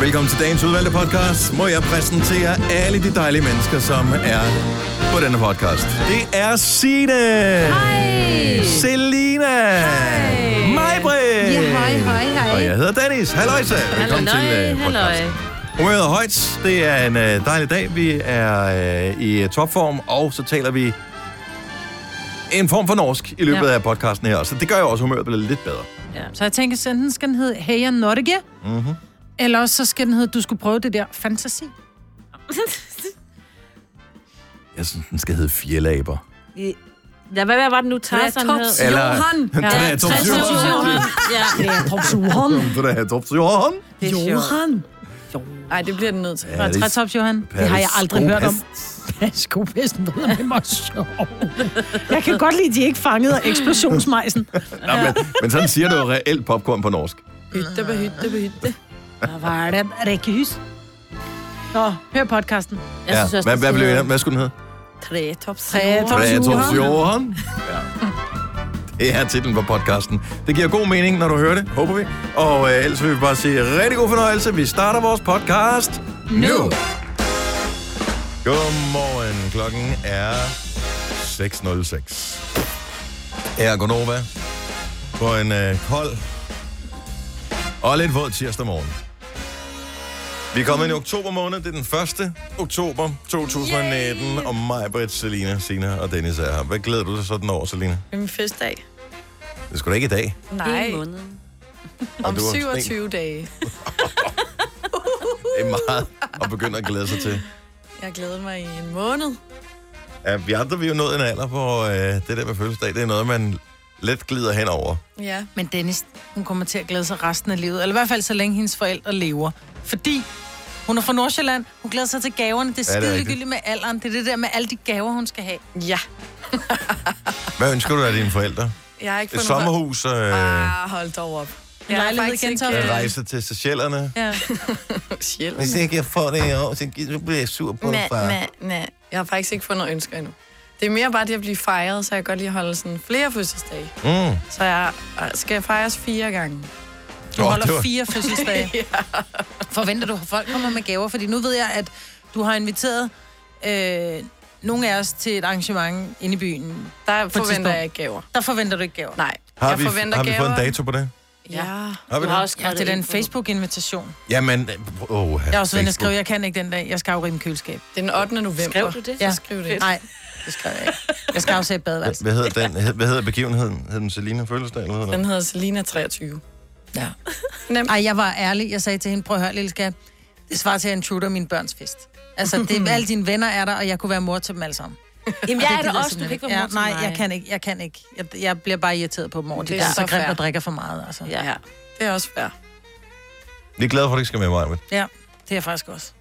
Velkommen til dagens udvalgte podcast. Må jeg præsentere alle de dejlige mennesker, som er på denne podcast. Det er Signe. Hej. Selina. Hej. Majbrit. Ja, hej, hej, hej. Og jeg hedder Dennis. Halløjsa. Velkommen til uh, podcast. Humøret er højt. Det er en øh, dejlig dag. Vi er øh, i øh, topform, og så taler vi en form for norsk i løbet Ja. af podcasten her. Så det gør jo også, at humøret bliver lidt bedre. Ja. Så jeg tænker, så enten skal den hedde Hey, and Norge, Mm-hmm. eller også så skal den hedde Du skulle prøve det der fantasi. Jeg synes, den skal hedde Fjelaber. I- Ja, hvad, hvad var det nu, Tarzan hed? Tops Eller- Johan. Ja, Tre Tre Tops Tops Johan. Johan. Ja. Tops Johan. Så der er Tops Johan. Det er sjovt. Nej, det bliver den nødt til. Ja, det er Trætops Johan. Det har jeg aldrig hørt om. Skopesten ved med mig sjov. Jeg kan godt lide, at de ikke fangede af eksplosionsmejsen. Nå, men, men sådan siger du jo reelt popcorn på norsk. Hytte på hytte på hytte. Hvad var det? Rikkehys. Nå, hør podcasten. Jeg synes også, hvad, det hvad, blev, hedder hvad skulle den hedde? Tre Tops Tre Johan. Tops Tre Johan. Tops Johan. Ja. Det er titlen på podcasten. Det giver god mening, når du hører det, håber vi. Og øh, ellers vil vi bare sige rigtig god fornøjelse. Vi starter vores podcast nu. nu. Godmorgen. Klokken er 6.06. Her er Gonova på en øh, kold og lidt våd tirsdag morgen. Vi er kommet ind i oktober måned. Det er den 1. oktober 2019. Yay! Og mig, Britt, Selina, Sina og Dennis er her. Hvad glæder du dig sådan over, Selina? Det er min festdag. Det er sgu da ikke i dag. Nej, En måned. Og om du er sådan en- 27 dage. Det er meget at begynde at glæde sig til. Jeg glæder mig i en måned. Ja, vi andre vi er jo nået en alder på øh, det der med fødselsdag. Det er noget, man let glider hen over. Ja. Men Dennis, hun kommer til at glæde sig resten af livet. Eller i hvert fald, så længe hendes forældre lever. Fordi hun er fra Nordsjælland. Hun glæder sig til gaverne. Det er Ja, det er skide rigtigt. ligegyldigt med alderen. Det er det der med alle de gaver, hun skal have. Ja. Hvad ønsker du af dine forældre? Jeg har ikke Et fundet sommerhus, øh, Ah, hold dog op. Jeg har Lejlighed faktisk igen, ikke Tom. øh, rejse til Seychellerne. Ja. sjældent. ikke jeg får det i år, så bliver jeg sur på Næ, næ, næ. Jeg har faktisk ikke fundet ønsker endnu. Det er mere bare det at blive fejret, så jeg kan godt lige holde sådan flere fødselsdage. Mm. Så jeg øh, skal fejres fire gange. Du Nå, holder det var- fire fødselsdage. Forventer du, at folk kommer med gaver? Fordi nu ved jeg, at du har inviteret øh, nogle af os til et arrangement inde i byen. Der tidspunkt. forventer jeg ikke gaver. Der forventer du ikke gaver. Nej, Har jeg vi, forventer har vi gaver. fået en dato på det? Ja. Har vi Du det? har også Ja, skrevet det er da en ind på- Facebook-invitation. Jamen, åh, Jeg har også været inde og skrive, jeg kan ikke den dag. Jeg skal afrime køleskab. Det er den 8. november. Skrev du det? Ja. Så skriv det. Nej, det skal jeg ikke. Jeg skal afsætte badeværelset. Hvad hedder, den, hed- hvad hedder begivenheden? Hed den Selina Fødselsdag, eller hvad hedder Den den? hedder Selina 23. Ja. Nemt. Ej, jeg var ærlig. Jeg sagde til hende, prøv at høre, lille skat. Det svarer til, at jeg intruder min børns fest. Altså, det, alle dine venner er der, og jeg kunne være mor til dem alle sammen. Jamen, Og jeg er gider det også, du simpelthen kan ikke være mor ja, til Nej, mig. jeg kan ikke. Jeg, kan ikke. Jeg, jeg bliver bare irriteret på dem over, de Det der er så så grimt fair. og drikker for meget. Altså. Ja. Ja. Ja, det er også fair. Vi er glade for, at du ikke skal med mig, men ja. det er jeg faktisk også.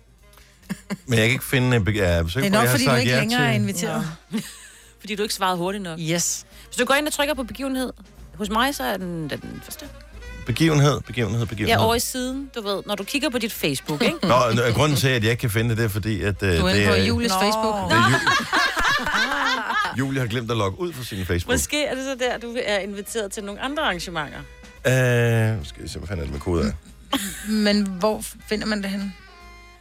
men jeg kan ikke finde... en Be- ja, jeg er Det sikker er på, nok, at jeg har fordi du sagt ikke ja længere er til... inviteret. Fordi du ikke svarede hurtigt nok. Yes. Hvis du går ind og trykker på begivenhed, hos mig så er den den første. Begivenhed, begivenhed, begivenhed. Ja, over i siden, du ved, når du kigger på dit Facebook, ikke? Nå, n- grunden til, at jeg ikke kan finde det, det er fordi, at... Uh, Du er det inde på er, Julies Nå. Facebook. Det er jul. Julie har glemt at logge ud fra sin Facebook. Måske er det så der, du er inviteret til nogle andre arrangementer. Øh, skal vi se, hvad fanden er det med kode af? Men hvor finder man det henne?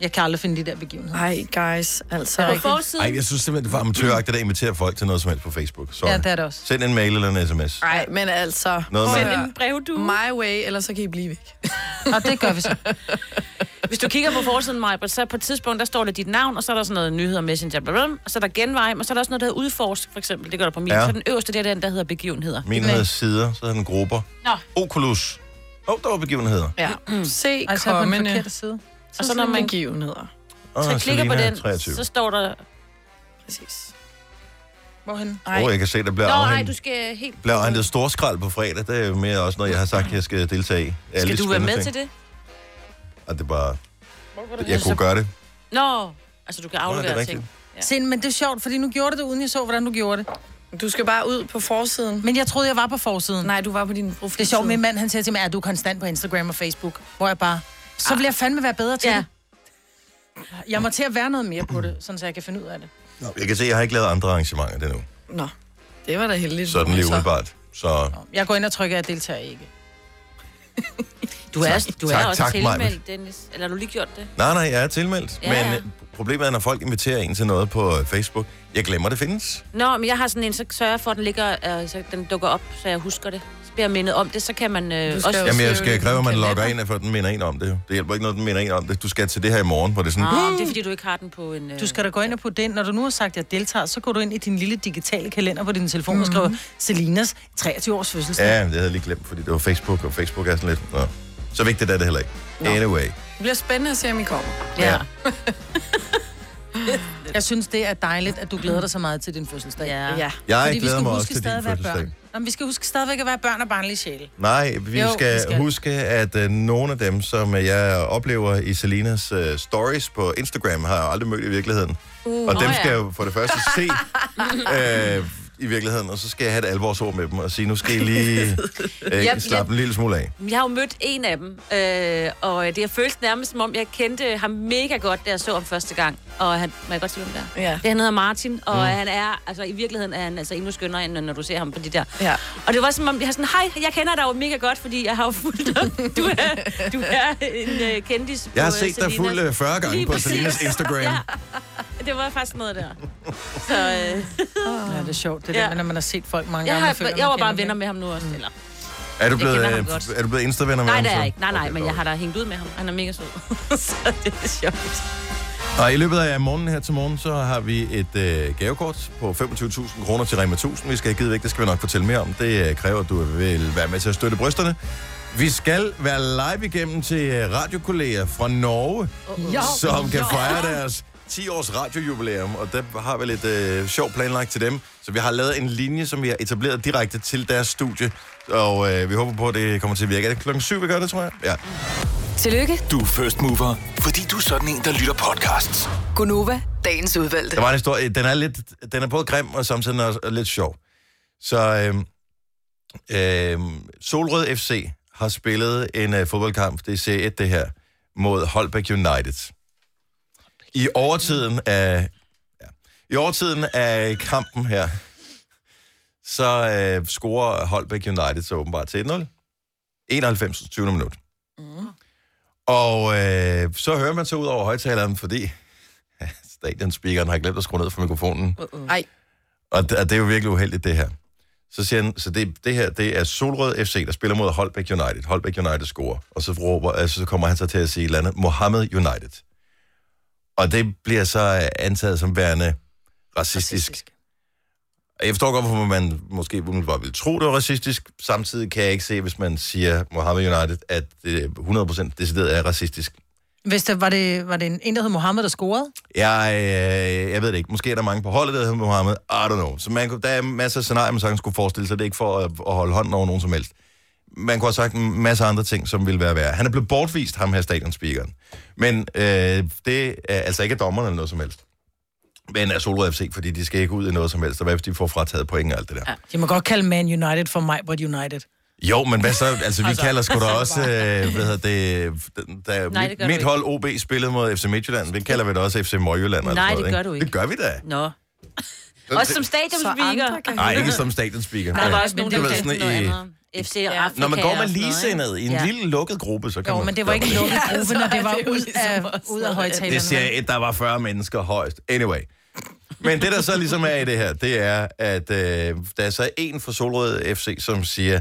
Jeg kan aldrig finde de der begivenheder. Ej, guys, altså. På rigtigt. forsiden. Ej, jeg synes simpelthen, det var amatøragtigt at invitere folk til noget som helst på Facebook. Sorry. Ja, det er det også. Send en mail eller en sms. Nej, men altså. Noget prøv med- at Send høre. en brevdue. My way, eller så kan I blive væk. Og det gør vi så. Hvis du kigger på forsiden, Maja, så på et tidspunkt, der står der dit navn, og så er der sådan noget nyheder, messenger, bla, bla, bla, og så er der genvej, og så er der også noget, der hedder udforsk, for eksempel. Det gør der på min. Ja. Ja. Så den øverste, det er den, der hedder begivenheder. Min hedder sider, så hedder den grupper. Nå. Oculus. Åh, oh, der var begivenheder. Ja. Se Altså på den kommende. forkerte side. Og så når man givenheder. Oh, så klikker på den, 23. så står der... Præcis. Hvorhen? Ej, Åh, oh, jeg kan se, der bliver Nå, nej, afhentet. du skal helt... bliver afhentet storskrald på fredag. Det er jo mere også noget, jeg har sagt, jeg skal deltage i. Skal du være med til det? Og det er bare... med? Jeg kunne gøre det. Nå, altså du kan Nå, det er aflevere rigtigt. ting. Ja. Se, men det er sjovt, fordi nu gjorde du det, uden jeg så, hvordan du gjorde det. du skal bare ud på forsiden. Men jeg troede, jeg var på forsiden. Nej, du var på din Det profil. er sjovt, min mand han siger til mig, at du er konstant på Instagram og Facebook, hvor jeg bare, så vil jeg fandme være bedre til Ah. Ja. ja. det. Jeg må til at være noget mere på det, sådan så jeg kan finde ud af det. Nå, Jeg kan se, at jeg har ikke lavet andre arrangementer det nu. Nå, det var da heldigt. Sådan lige Altså, umiddelbart. Så Jeg går ind og trykker, at jeg deltager ikke. Du er, Tak, du er tak, også tak, Maj-Brit. tilmeldt, Dennis. Eller har du lige gjort det? Nej, nej, jeg er tilmeldt. Ja, Ja, men ja. øh, problemet er, når folk inviterer en til noget på øh, Facebook, jeg glemmer, det findes. Nå, men jeg har sådan en, så sørger jeg for, at den, ligger, øh, så den dukker op, så jeg husker det. Så bliver jeg mindet om det, så kan man øh, også... Jamen, jeg skal kræve, at man logger ind, for den minder en om det. jo. Det hjælper ikke noget, den minder en om det. Du skal til det her i morgen, hvor det er sådan... Ah, det er, fordi du ikke har den på en... Øh... Du skal da gå ind og putte det ind. Når du nu har sagt, at jeg deltager, så går du ind i din lille digitale kalender på din telefon og skriver Selinas 23-års fødselsdag. Ja, det havde jeg lige glemt, fordi det var Facebook, og Facebook er sådan lidt... Nå. Så vigtigt er det heller ikke. Anyway. Det bliver spændende at se, om I kommer. Ja. Jeg synes, det er dejligt, at du glæder dig så meget til din fødselsdag. Ja. Ja. Jeg Fordi vi glæder skal mig huske også til din stadig at være fødselsdag. Børn. Jamen, vi skal huske stadigvæk at være børn og barnlige sjæle. Nej, vi Jo, jo, vi skal, skal. skal huske, at øh, nogle af dem, som øh, jeg oplever i Selinas øh, stories på Instagram, har jeg aldrig mødt i virkeligheden. Uh, og Nå dem ja. skal jeg jo for det første se øh, i virkeligheden, og så skal jeg have et alvorsord med dem og sige, nu skal I lige øh, Jeg- slappe en lille smule af. Jeg har jo mødt en af dem, øh, og det har føltes nærmest, som om jeg kendte ham mega godt, da jeg så ham første gang. Og han, må jeg godt sige, hvem det er? Ja. Det, han hedder Martin, og mm. han er, altså i virkeligheden er han altså endnu skønnere, end når du ser ham på de der. Ja. Og det var som om, jeg har sådan, hej, jeg kender dig jo mega godt, fordi jeg har jo fulgt dig. Du er, du er en uh, kendis Jeg har på, øh, set dig Selinas. fuld øh, 40 gange Lige på præcis. Selinas Instagram. Ja. Det var faktisk noget der. Så øh, Ja, det er sjovt, Ah. det Ja. ja. der, når man har set folk mange jeg, gange. har, jeg var bare venner med. med ham nu også. Eller. Er du blevet, kender ham øh, godt. er du blevet Insta-venner med Nej, ham det er så? jeg ikke. Nej, nej, Okay, men godt. jeg har da hængt ud med ham. Han er mega sød. så det er sjovt. Og i løbet af morgenen her til morgen, så har vi et øh, gavekort på 25.000 kroner til Rema 1000. Vi skal have givet væk, det skal vi nok fortælle mere om. Det øh, kræver, at du vil være med til at støtte brysterne. Vi skal være live igennem til øh, radiokolleger fra Norge, Jo, som kan fejre deres 10-års radiojubilæum, og der har vi lidt øh, sjov planlagt til dem. Så vi har lavet en linje, som vi har etableret direkte til deres studie, og øh, vi håber på, at det kommer til at virke. Er det klokken syv, vi gør det, tror jeg? Ja. Tillykke, Du er first mover, fordi du er sådan en, der lytter podcasts. Gunova, dagens udvalgte. Der var en historie, den er, lidt, den er både grim og samtidig også lidt sjov. Så øhm, øhm, Solrød FC har spillet en øh, fodboldkamp, det er C1 det her, mod Holbæk United. I overtiden af, ja, i overtiden af kampen her, så øh, scorer Holbæk United så åbenbart til 1-0. 91. 20. minut. Og øh, så hører man så ud over højtaleren, fordi stadionspeakeren har glemt at skrue ned for mikrofonen. Ej. Og det, og det er jo virkelig uheldigt, det her. Så siger han, så det, det her, det er Solrød FC, der spiller mod Holbæk United. Holbæk United scorer. Og så, råber, altså, så kommer han så til at sige et eller andet, Mohammed United. Og det bliver så øh, antaget som værende racistisk. racistisk. Jeg forstår godt, hvorfor man måske umiddelbart ville tro, det var racistisk. Samtidig kan jeg ikke se, hvis man siger Mohammed United, at det 100% decideret er racistisk. Hvis der var det, var det en, en, der hed Mohammed, der scorede? Jeg, øh, jeg ved det ikke. Måske er der mange på holdet, der hedder Mohammed. I don't know. Så man, kunne- der er masser af scenarier, man sagtens kunne forestille sig. Det er ikke for at, at holde hånden over nogen som helst. Man kunne have sagt en masse andre ting, som ville være værre. Han er blevet bortvist, ham her stadionspeakeren. Men øh, det er altså ikke af dommerne eller noget som helst. Men er Solrød FC, fordi de skal ikke ud i noget som helst. Og hvad hvis de får frataget point og alt det der? De må godt kalde Man United for mig, but United. Jo, men hvad så? Altså, vi altså, kalder sgu da også, øh, hvad hedder det, da, Nej, det gør da du mit ikke. hold OB spillede mod FC Midtjylland, det kalder vi da også FC Møjylland. og Nej, alt sådan det noget, gør du ikke. Det gør vi da. Nå. Også som stadionspeaker. andre kan- Nej, ikke som stadionspeaker. Der var også men nogen, det der var kendte sådan noget i- andet. FC og Afrika. Når man går med og sådan noget, ligesindet i en Ja. ja. lille lukket gruppe, så kan Jo, man... men det var ikke en lukket gruppe, når det var det er jo ud ligesom af, også ud af noget højtalerne. Det siger et, der var 40 mennesker højst. Anyway. Men det, der så ligesom er i det her, det er, at øh, der er så en fra Solrød FC, som siger,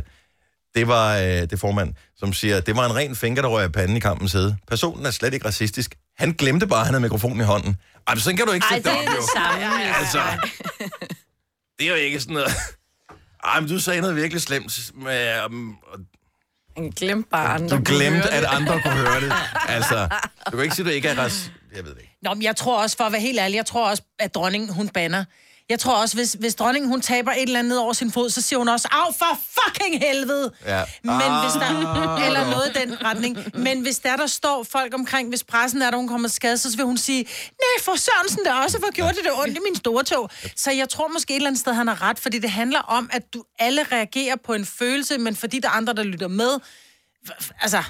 det var øh, det er formand, som siger, det var en ren finger, der røg af panden i kampens hede. Personen er slet ikke racistisk. Han glemte bare, at han havde mikrofonen i hånden. Ej, men sådan kan du ikke Ej, sætte det dig op, er det jo. samme. ja. Altså, det er jo ikke sådan noget... Ej, men du sagde noget virkelig slemt, med, um, og Han glemte bare andre. Du kunne høre glemte, det. at andre kunne høre det. Altså, du kan ikke sige, at du ikke er ras... Jeg ved det ikke. Nå, men jeg tror også, for at være helt ærlig, jeg tror også, at dronningen, hun banner. Jeg tror også, hvis, hvis dronningen, hun taber et eller andet ned over sin fod, så siger hun også, af for fucking helvede! Ja. Men Ah. hvis der, eller noget i den retning. Men hvis der, der står folk omkring, hvis pressen er, der hun kommer til skade, så vil hun sige, nej, for Sørensen, der også for gjort det, det ondt i min store tog. Så jeg tror måske et eller andet sted, han har ret, fordi det handler om, at du alle reagerer på en følelse, men fordi der er andre, der lytter med. Altså,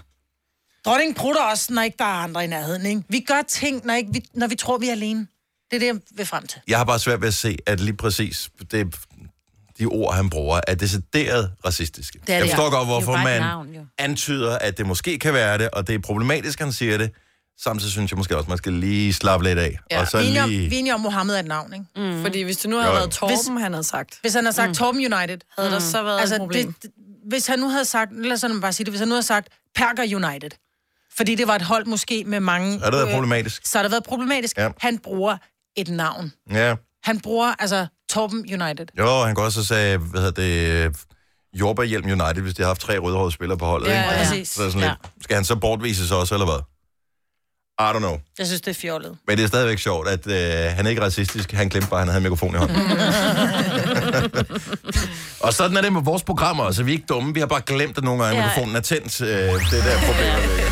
Dronningen prutter os, når ikke der er andre i nærheden, ikke? Vi gør ting, når, ikke vi, når vi tror, vi er alene. Det er det, jeg vil frem til. Jeg har bare svært ved at se, at lige præcis det, de ord, han bruger, er decideret racistiske. er jeg det, forstår ja. godt, Det er jo hvorfor bare et man navn, jo. antyder, at det måske kan være det, og det er problematisk, han siger det. Samtidig synes jeg måske også, man skal lige slappe lidt af. Ja, og så Vi er enige om, vi er lige... enige om Mohammed er et navn, ikke? Mm. Mm. Fordi hvis det nu havde Jo, jo. været Torben, han havde sagt, Hvis han havde sagt mm. Torben United, havde der så været altså, altså, et problem. det, det- hvis han nu havde sagt, lad os sådan bare sige det, hvis han nu havde sagt Perker United, fordi det var et hold måske med mange... Er det været problematisk? Så har det været problematisk. Ja. Ja. Han bruger et navn. Ja. Han bruger, altså, Torben United. Jo, han går også og sagde, hvad hedder det, øh, Jordbærhjelm United, hvis de har haft tre rødhårede spillere på holdet. Ja, ikke? Altså, ja. Præcis. Så er det sådan lidt, skal han så bortvises også, eller hvad? I don't know. Jeg synes, det er fjollet. Men det er stadigvæk sjovt, at øh, han er ikke racistisk. Han glemte bare, at han havde mikrofon i hånden. og sådan er det med vores programmer. Altså, vi er ikke dumme. Vi har bare glemt, at nogle gange ja. Ja. mikrofonen er tændt. Øh, det er der problemet ligger.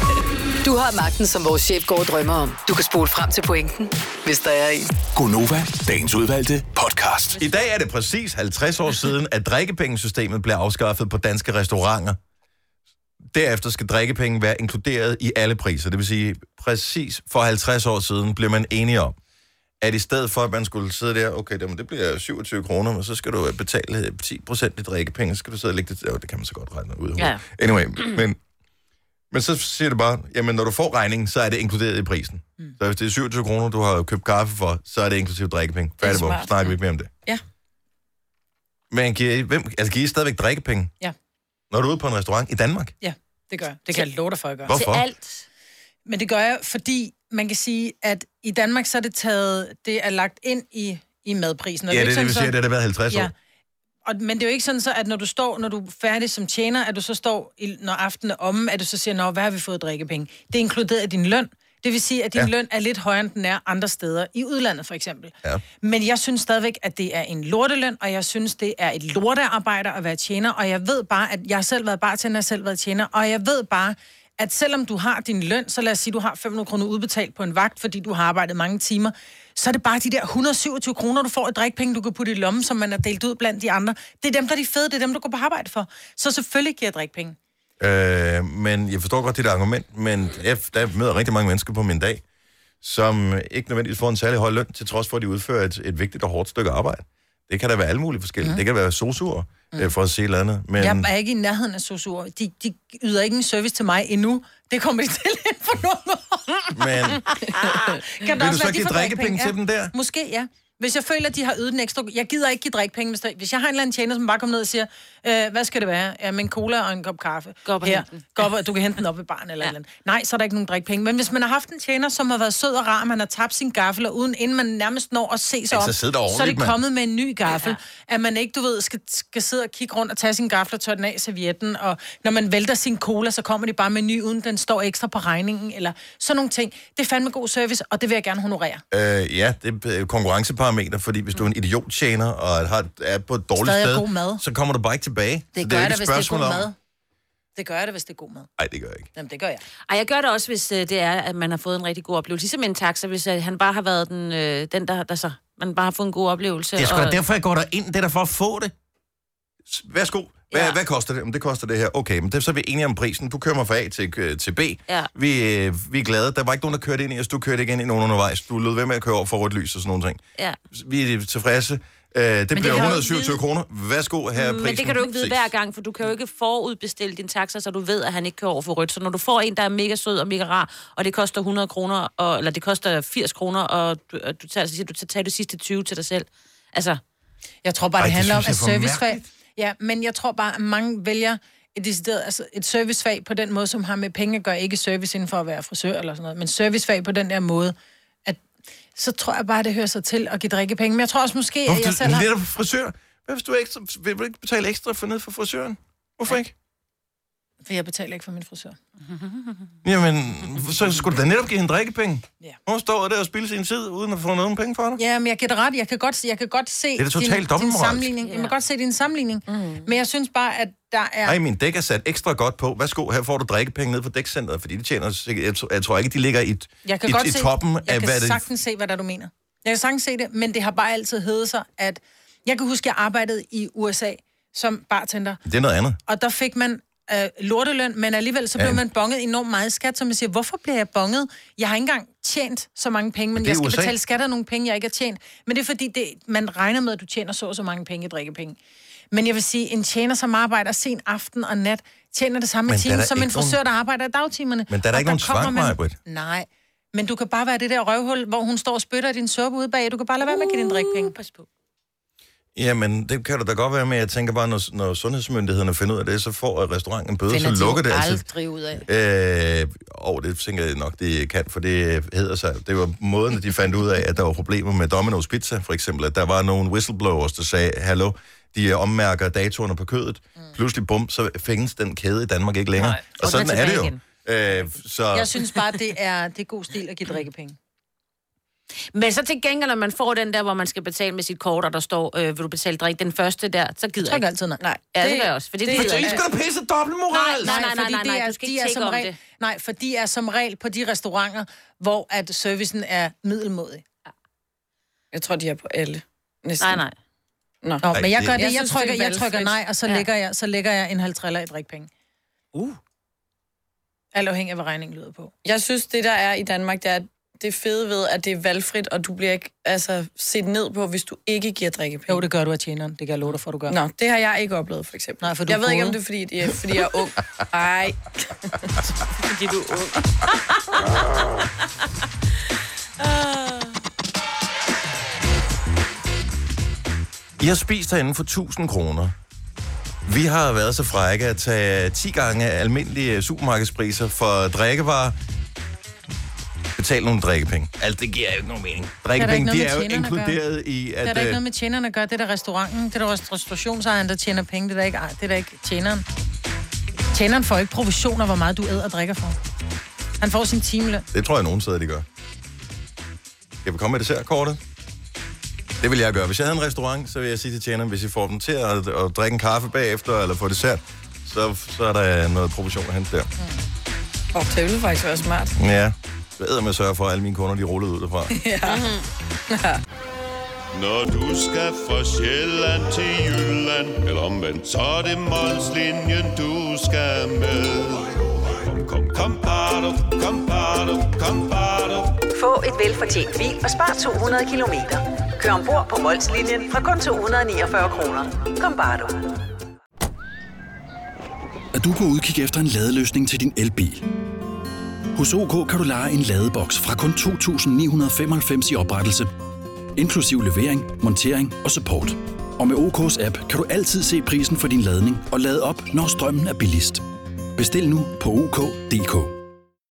Du har magten, som vores chef går og drømmer om. Du kan spole frem til pointen, hvis der er en. Gonova, dagens udvalgte podcast. I dag er det præcis 50 år siden, at drikkepengesystemet blev afskaffet på danske restauranter. Derefter skal drikkepenge være inkluderet i alle priser. Det vil sige, præcis for 50 år siden blev man enige om, at i stedet for, at man skulle sidde der, okay, det, det bliver 27 kroner, men så skal du øh, betale 10 procent i drikkepenge, så skal du sidde og lægge det... Jo, det kan man så godt regne ud. Ja. Ja. Anyway, men, men så siger det bare, jamen når du får regningen, så er det inkluderet i prisen. Mm. Så hvis det er 27 kroner, du har købt kaffe for, så er det inklusive drikkepenge. Færdig, hvor smart. snakker vi ikke mere om det. Ja. Men giver I, hvem, altså, giver I stadigvæk drikkepenge? Ja. Når du er ude på en restaurant i Danmark? Ja, det gør jeg. Det kan jeg love dig for, at gøre. Hvorfor? Til alt. Men det gør jeg, fordi man kan sige, at i Danmark så er det taget, det er lagt ind i, i madprisen. Og Ja, er det er ikke det, vi siger, sådan, det har det været 50 år. Ja. Og, men det er jo ikke sådan så, at når du står, når du er færdig som tjener, at du så står, i, når aftenen er omme, at du så siger, nå, hvad har vi fået i drikkepenge? Det er inkluderet i din løn. Det vil sige, at din Ja. ja. løn er lidt højere, end den er andre steder, i udlandet for eksempel. Ja. Men jeg synes stadigvæk, at det er en lorteløn, og jeg synes, det er et lortearbejde at være tjener, og jeg ved bare, at jeg har selv været bartender, jeg har selv været tjener, og jeg ved bare, at selvom du har din løn, så lad os sige, du har 500 kroner udbetalt på en vagt, fordi du har arbejdet mange timer, så er det bare de der 127 kroner, du får i drikpenge, du kan putte i lommen, som man har delt ud blandt de andre. Det er dem, der er de fede, det er dem, du går på arbejde for. Så selvfølgelig giver jeg drikpenge. Øh, men jeg forstår godt dit argument, men jeg, der møder rigtig mange mennesker på min dag, som ikke nødvendigvis får en særlig høj løn, til trods for, at de udfører et, et vigtigt og hårdt stykke arbejde. Det kan da være alle mulige forskellige. Mm. Det kan være sosuer, mm. for at se et eller andet. Men, Jeg er ikke i nærheden af sosuer. De, de yder ikke en service til mig endnu. Det kommer de til inden for nogle år. men Kan det vil du også så være, de give får drikkepenge drikkepenge? til dem der? Måske, ja. Hvis jeg føler, at de har ydet en ekstra... Jeg gider ikke give drikkepenge, hvis, der... hvis jeg har en eller anden tjener, som bare kommer ned og siger, øh, hvad skal det være? Ja, men cola og en kop kaffe. Gå op og Her. hent den. Gå op, og- du kan hente den op ved barn eller Ja. ja. eller andet. Nej, så er der ikke nogen drikkepenge. Men hvis man har haft en tjener, som har været sød og rar, man har tabt sin gaffel, og uden inden man nærmest når at se sig Altså, om, sid dig så er det ordentligt, mand. kommet med en ny gaffel. Ja. At man ikke, du ved, skal, skal sidde og kigge rundt og tage sin gaffel og tørre den af i servietten. Og når man vælter sin cola, så kommer de bare med en ny, uden den står ekstra på regningen. Eller sådan nogle ting. Det er fandme god service, og det vil jeg gerne honorere. Øh, ja, det er øh, konkurrenceparameter, fordi hvis du er en idiottjener og har, er på et dårligt Stadig er sted, god mad. så kommer du bare ikke tilbage. Så Det er gør jo jeg da, ikke et hvis det er spørgsmål god om- mad. Det gør jeg da, hvis det er god mad. Nej, det gør jeg ikke. Jamen, det gør jeg. Ej, jeg gør det også, hvis øh, det er, at man har fået en rigtig god oplevelse. Ligesom en taxa, hvis øh, han bare har været den, øh, den der, der så... Man bare har fået en god oplevelse. Det er sgu da og- derfor, jeg går derind. Det er da for at få det. S- Værsgo. Hvad, ja. Ja. hvad koster det? Jamen, det koster det her. Okay, men det, så er vi enige om prisen. Du kører mig fra A til, øh, til B. Ja. Vi, øh, vi er glade. Der var ikke nogen, der kørte ind i os. Du kørte ikke ind i nogen undervejs. Du lød ved med at køre over for rødt lys og sådan nogle ting. Ja. Vi er tilfredse. Øh, det bliver kan du ikke 127 vide. Mm, kroner. Værsgo, her er prisen. Men det kan du ikke vide Ses. hver gang, for du kan jo ikke forudbestille din taxa, så du ved, at han ikke kører over for rødt. Så når du får en, der er mega sød og mega rar, og det koster 100 kroner, og, eller det koster 80 kroner, og du, og du tager, så siger, du tager, tager de sidste 20 til dig selv. Altså, Jeg tror bare, Ej, det det handler om, synes at jeg er for servicefag... Ja, men jeg tror bare, at mange vælger et, decideret, altså et servicefag på den måde, som har med penge at gøre, ikke service inden for at være frisør eller sådan noget, men servicefag på den der måde, at så tror jeg bare, det hører sig til at give drikkepenge. Men jeg tror også måske, at jeg Hvorfor selv du har... netop frisør? Hvad hvis du ekstra, vil du ikke betale ekstra for ned for frisøren? Hvorfor ikke? For jeg betaler ikke for min frisør. Jamen, så skulle du da netop give hende drikkepenge. Ja. Hun står der og spilder sin tid, uden at få nogen penge for dig. Ja, men jeg giver dig ret. Jeg kan godt, jeg kan godt se er da totalt din dobbeltmoralsk. sammenligning. Jeg kan godt se din sammenligning. Mm. Men jeg synes bare, at der er... Nej, min dæk er sat ekstra godt på. Værsgo, her får du drikkepenge ned på dækcenteret, fordi de tjener... sikkert- Jeg, tror- jeg tror ikke, de ligger i, Jeg kan i, godt i se, toppen jeg af, kan hvad det... sagtens se, hvad der du mener. Jeg kan sagtens se det, men det har bare altid heddet sig, at... Jeg kan huske, at jeg arbejdede i USA som bartender, Det er noget andet. og der fik man øh, lorteløn, men alligevel så blev Ja. man bonget enormt meget i skat, så man siger, hvorfor bliver jeg bonget? Jeg har ikke engang tjent så mange penge, men det er jeg skal USA. betale skat af nogle penge, jeg ikke har tjent. Men det er fordi, det, man regner med, at du tjener så og så mange penge i drikkepenge. Men jeg vil sige, en tjener, som arbejder sen aften og nat, tjener det samme Men i der er timen der som en ikke nogen- frisør, der arbejder i dagtimerne. Men der er der Og ikke nogen kommer tvang, man- Maj-Brit. Nej, men du kan bare være det der røvhul, hvor hun står og spytter din suppe ude bag. Du kan bare lade være med at give din drikpenge. Pas på. Jamen, det kan du da godt være med. Jeg tænker bare, når, når sundhedsmyndighederne finder ud af det, så får restauranten en bøde, Finder så de jo lukker det altså. aldrig ud af. Øh, og det tænker jeg nok, det kan, for det hedder sig. Det var måden, de fandt ud af, at der var problemer med Domino's Pizza, for eksempel. At der var nogle whistleblowers, der sagde, hallo, de øh, ommærker datoerne på kødet. Mm. Pludselig, bum, så findes den kæde i Danmark ikke længere. Nej. Og Og den er sådan er det jo. tilbage Øh, så Jeg synes bare, det er, det er god stil at give drikkepenge. Men så til gengæld, når man får den der, hvor man skal betale med sit kort, og der står, øh, vil du betale drik den første der, så gider Så er jeg ikke ikke. altid nej. Nej. Ja, det gør jeg også, for det, det, gider jeg ikke. skal da pisse dobbeltmoral! Nej, nej, nej, fordi nej, nej, det er- du skal de ikke er tjekke som om regel- det. Nej, for de er som regel på de restauranter, hvor at servicen er middelmodig. Jeg tror, de er på alle. Næsten. Nej, nej. Nå. Nå, Ej, men jeg det- gør det, Jeg jeg, synes, trykker, det er jeg trykker valgfrit. nej, og så, Ja. lægger jeg, så lægger jeg en halv triller i drikpenge. Uh. Alt afhængig af, hvad regningen lyder på. Jeg synes, det der er i Danmark, det er det fede ved, at det er valgfrit, og du bliver ikke altså, set ned på, hvis du ikke giver drikkepenge. Jo, det gør du af tjeneren. Det kan jeg love dig for, du gør. Nå, det har jeg ikke oplevet, for eksempel. Nej, for du jeg er ved ikke, om gode. det er, fordi, det er, fordi jeg er ung. Nej, Fordi du er ung. Ah. I har spist herinde for 1000 kroner. Vi har været så frække at tage 10 gange almindelige øh, supermarkedspriser for drikkevarer. Betal nogle drikkepenge. Altså, det giver jo ikke nogen mening. Drikkepenge, de noget er med jo tjenerne at gøre. inkluderet i, Det er at... der ikke øh, noget med tjeneren at gøre. Det er der restauranten, det er der restaurationsejeren, der tjener penge. Det er der ikke, ej, det er der ikke tjeneren. Tjeneren får ikke provisioner, hvor meget du æder og drikker for. Han får sin timeløn. Det tror jeg, nogen steder, de gør. Skal vi komme med dessertkortet? Det vil jeg gøre. Hvis jeg havde en restaurant, så vil jeg sige til tjeneren, hvis I får dem til at, at drikke en kaffe bagefter, eller få dessert, så, så er der noget provision at hente der. og det ville faktisk være smart. Ja. Jeg ved, at man sørger for, at alle mine kunder, de rullede ud derfra. Mhm. Når du skal fra Sjælland til Jylland Eller omvendt, så er det Molslinjen, du skal med Kom, kom, kom, bado, kom, bado, kom, bado. Få et velfortjent bil og spar 200 kilometer. Kør ombord på Molslinjen fra kun 249 kroner. Kom bare du. Er du på udkig efter en ladeløsning til din elbil? Hos OK kan du lege en ladeboks fra kun 2.995 i oprettelse, inklusiv levering, montering og support. Og med OK's app kan du altid se prisen for din ladning og lade op, når strømmen er billigst. Bestil nu på OK.dk.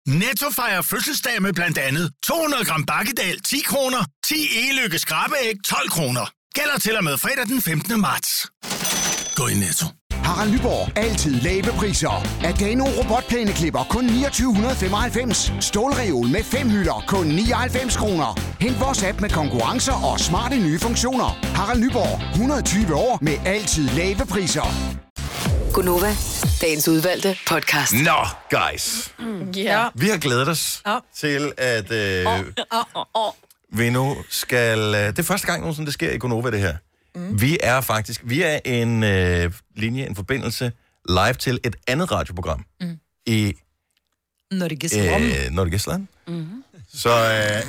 Netto fejrer fødselsdag med blandt andet 200 gram bakkedal 10 kroner, 10 e-lykke skrabeæg 12 kroner. Gælder til og med fredag den 15. marts. Gå i Netto. Harald Nyborg. Altid lave priser. Adano robotplæneklipper kun 2995. Stålreol med fem hylder kun 99 kroner. Hent vores app med konkurrencer og smarte nye funktioner. Harald Nyborg. 120 år med altid lave priser. Gunova, dagens udvalgte podcast. Nå, guys. Ja. Vi har glædet os ja. til, at øh, oh. vi nu skal... Øh, det er første gang nogensinde, det sker i Gonova, det her. Mm. Vi er faktisk... Vi er en øh, linje, en forbindelse live til et andet radioprogram mm. i Når det giver øh. øh, Nordjylland. Mm. Så øh,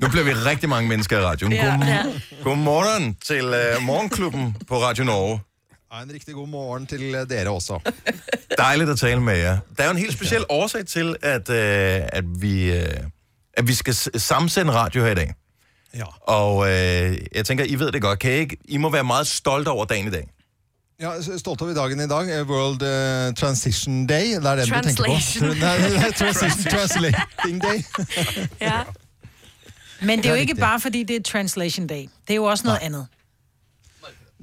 nu bliver vi rigtig mange mennesker i radioen. Ja, God, ja. Godmorgen til øh, Morgenklubben på Radio Norge. En rigtig god morgen til dere også. Dejligt at tale med jer. Der er jo en helt speciel årsag til, at, øh, at, vi, øh, at vi skal s- sammensende radio her i dag. Ja. Og øh, jeg tænker, I ved det godt. Kan I, ikke? I må være meget stolte over dagen i dag. Ja, stolt over dagen i dag. eh, World eh, Transition Day. Det er den du tenker på. Translation. Nei, det er Transition Translating Day. Ja. Men det er jo ikke bare, fordi det er translation day. Det er jo også noget andet.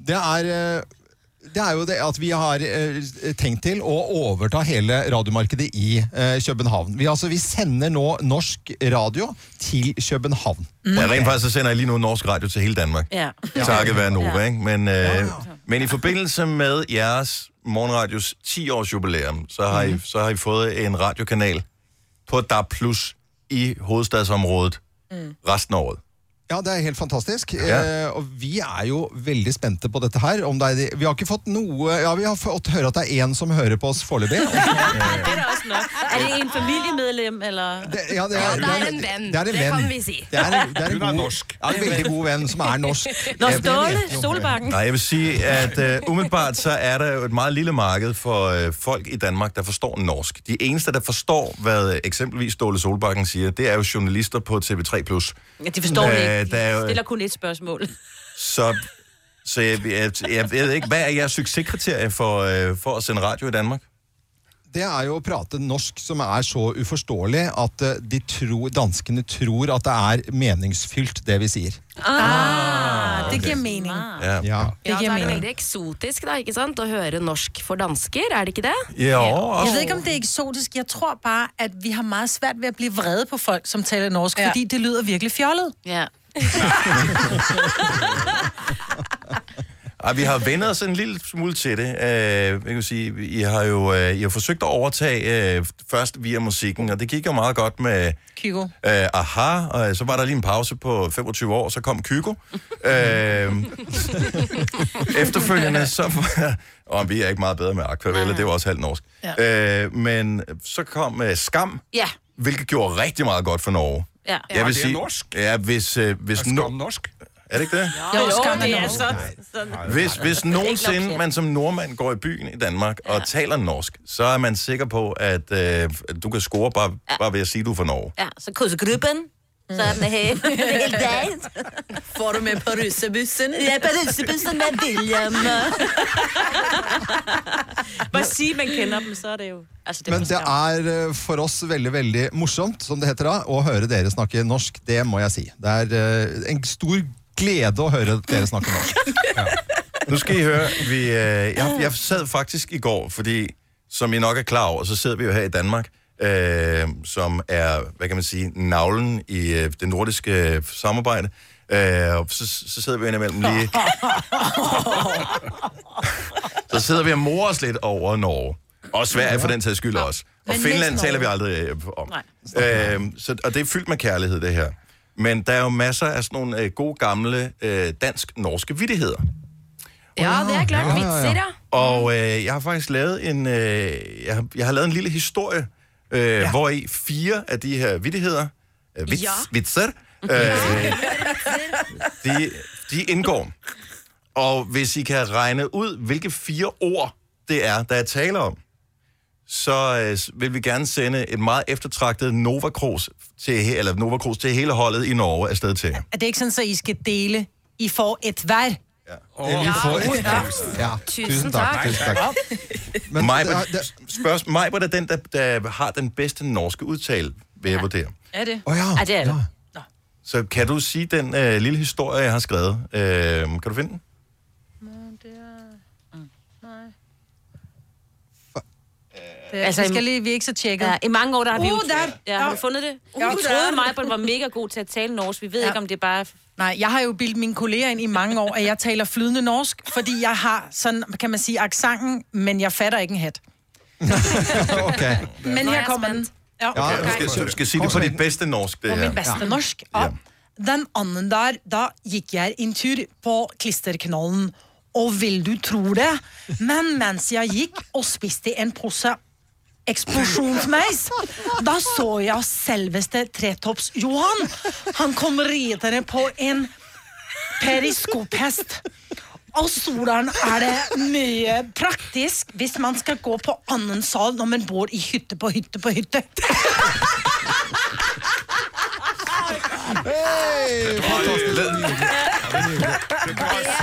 Det er, eh, det er jo det at vi har eh, tenkt til å overta hele radiomarkedet i eh, København. Vi, altså, vi sender nå norsk radio til København. Mm. Ja, rent faktisk så sender jeg lige nu norsk radio til hele Danmark. Ja. Takket være Nova, Ja. ikke? Men, øh, men i forbindelse med jeres morgenradios 10-års jubilæum, så har, Mhm. I, så har I fået en radiokanal på DAB Plus i hovedstadsområdet Mm. resten af året. Ja, det er helt fantastisk. Ja. Eh, og vi er jo veldig spente på dette her. Om det er, vi har ikke fått noe Ja, vi har fått høre at det er én som hører på oss foreløpig. Det er da også nok. Er det en familiemedlem, eller? Det, ja, det er, Ja, der er en ven. Det er en Det ven. kan vi sige. Det er en, det er en, Hun er god, norsk. Ja, en veldig god ven som er norsk. Nå, Ja, det Ståle, vet jeg jo. Solbakken. Nej, jeg vil sige, at øh, umiddelbart så er der jo et meget lille marked for øh, folk i Danmark, der forstår norsk. De eneste, der forstår, hvad øh, eksempelvis Ståle Solbakken siger, det er jo journalister på TV3+. Ja, de forstår det Øh, ikke. der er jo- De stiller kun et spørgsmål. Så, så jeg, jeg, jeg ved ikke, hvad er jeres succeskriterie for, øh, for at sende radio i Danmark? Det er jo å prate norsk som er så uforståelig at eh, de tror, danskene tror at det er meningsfylt, det vi sier. Ah, det giver mening. Ja. Ja. Det Ja, så giver er det mening. veldig eksotisk da, ikke sant? Å høre norsk for dansker, er det ikke det? Ja, også. altså. Jeg ved ikke, om det er eksotisk. Jeg tror bare, at vi har meget svært ved at blive vrede på folk, som taler norsk, Ja. ja. fordi det lyder virkelig fjollet. Ja. Ej, vi har vendt os en lille smule til det. Øh, jeg kan sige, I har jo øh, I har forsøgt at overtage øh, først via musikken, og det gik jo meget godt med Kygo. øh, Aha, og så var der lige en pause på 25 år, så kom Kygo. øh, efterfølgende så var... Og vi er ikke meget bedre med Aquarelle, det var også halvt norsk. Ja. Øh, men så kom øh, Skam, Ja. hvilket gjorde rigtig meget godt for Norge. Ja. Jeg Ja, vil det er sige, norsk. Ja, hvis, øh, hvis Skal om no- norsk? er det ikke det? Jo, skam er det er altså- norsk. så. sådan. Hvis, hvis nok, nogensinde ja. man som nordmand går i byen i Danmark og taler norsk, så er man sikker på, at øh, du kan score bare, bare ved at sige, du er fra Norge. Ja, så krydsegruppen. Så er den her. Det er helt dejligt. Får du med på russebussen? Jeg er på russebussen med William. Bare sige, man kender dem, så er det jo... Altså, det er Men for det skam. er eh, for oss veldig, veldig morsomt, som det heter da, å høre dere snakke norsk. Det må jeg si. Det er eh, en stor glede å høre dere snakke norsk. Nu skal I høre, vi, øh, jeg, jeg sad faktisk i går, fordi som I nok er klar over, så sidder vi jo her i Danmark, øh, som er, hvad kan man sige, navlen i øh, det nordiske øh, samarbejde. Øh, og så, så sidder vi indimellem lige... så sidder vi og morer os lidt over Norge. Og Sverige for den sags skyld også. Og Men Finland mest taler vi Norge. aldrig øh, om. Øh, så, og det er fyldt med kærlighed, det her. Men der er jo masser af sådan nogle øh, gode gamle øh, dansk-norske vittigheder. Ja, det er klart. Ja, ja, ja. Vitser, ja. Og øh, jeg har faktisk lavet en, øh, jeg, har, jeg har lavet en lille historie, øh, ja. hvor i fire af de her vittigheder, øh, vits, ja. Ja. vitser, øh, de, de indgår. Og hvis I kan regne ud, hvilke fire ord det er, der er tale om, så øh, s- vil vi gerne sende et meget eftertragtet Nova Cruz til, he- eller Nova Cruz til hele holdet i Norge afsted til. jer. Er det ikke sådan, så I skal dele? I får et hver. Det vi får. Ja, tusen takk. Tusen takk. Men det Majbert, er, det, spørgsmål, Majbert er den, der, der har den bedste norske udtale, vil jeg vurdere. Er det? Å ja. Ja, det er det. Så kan du sige den øh, lille historie, jeg har skrevet? Øh, kan du finde den? det altså, Altså, vi, skal lige, vi er ikke så tjekket. Ja, I mange år der har vi jo, Uh, der- ja, har vi fundet det. Uh, vi troede, Majbrit var mega god til at tale norsk. Vi ved ikke, om det er bare... Nej, jeg har jo bildt mine kolleger ind i mange år, at jeg taler flydende norsk, fordi jeg har sådan, kan man sige, aksangen, men jeg fatter ikke en hat. Ok. Men Nå er her jeg kommer den. spændt. Ja. Ja, Du skal, så- du skal sige det på dit bedste norsk, det på her. min beste norsk. Ja. Den anden der, da gikk jeg en tur på klisterknollen. Og vil du tro det? Men mens jeg gikk og spiste en pose eksplosjonsmeis, da så jeg selveste Tretops Johan. Han kom ridende på en periskophest. Og solen er det mye praktisk hvis man skal gå på annen sal når man bor i hytte på hytte på hytte. Hey, fantastisk. Det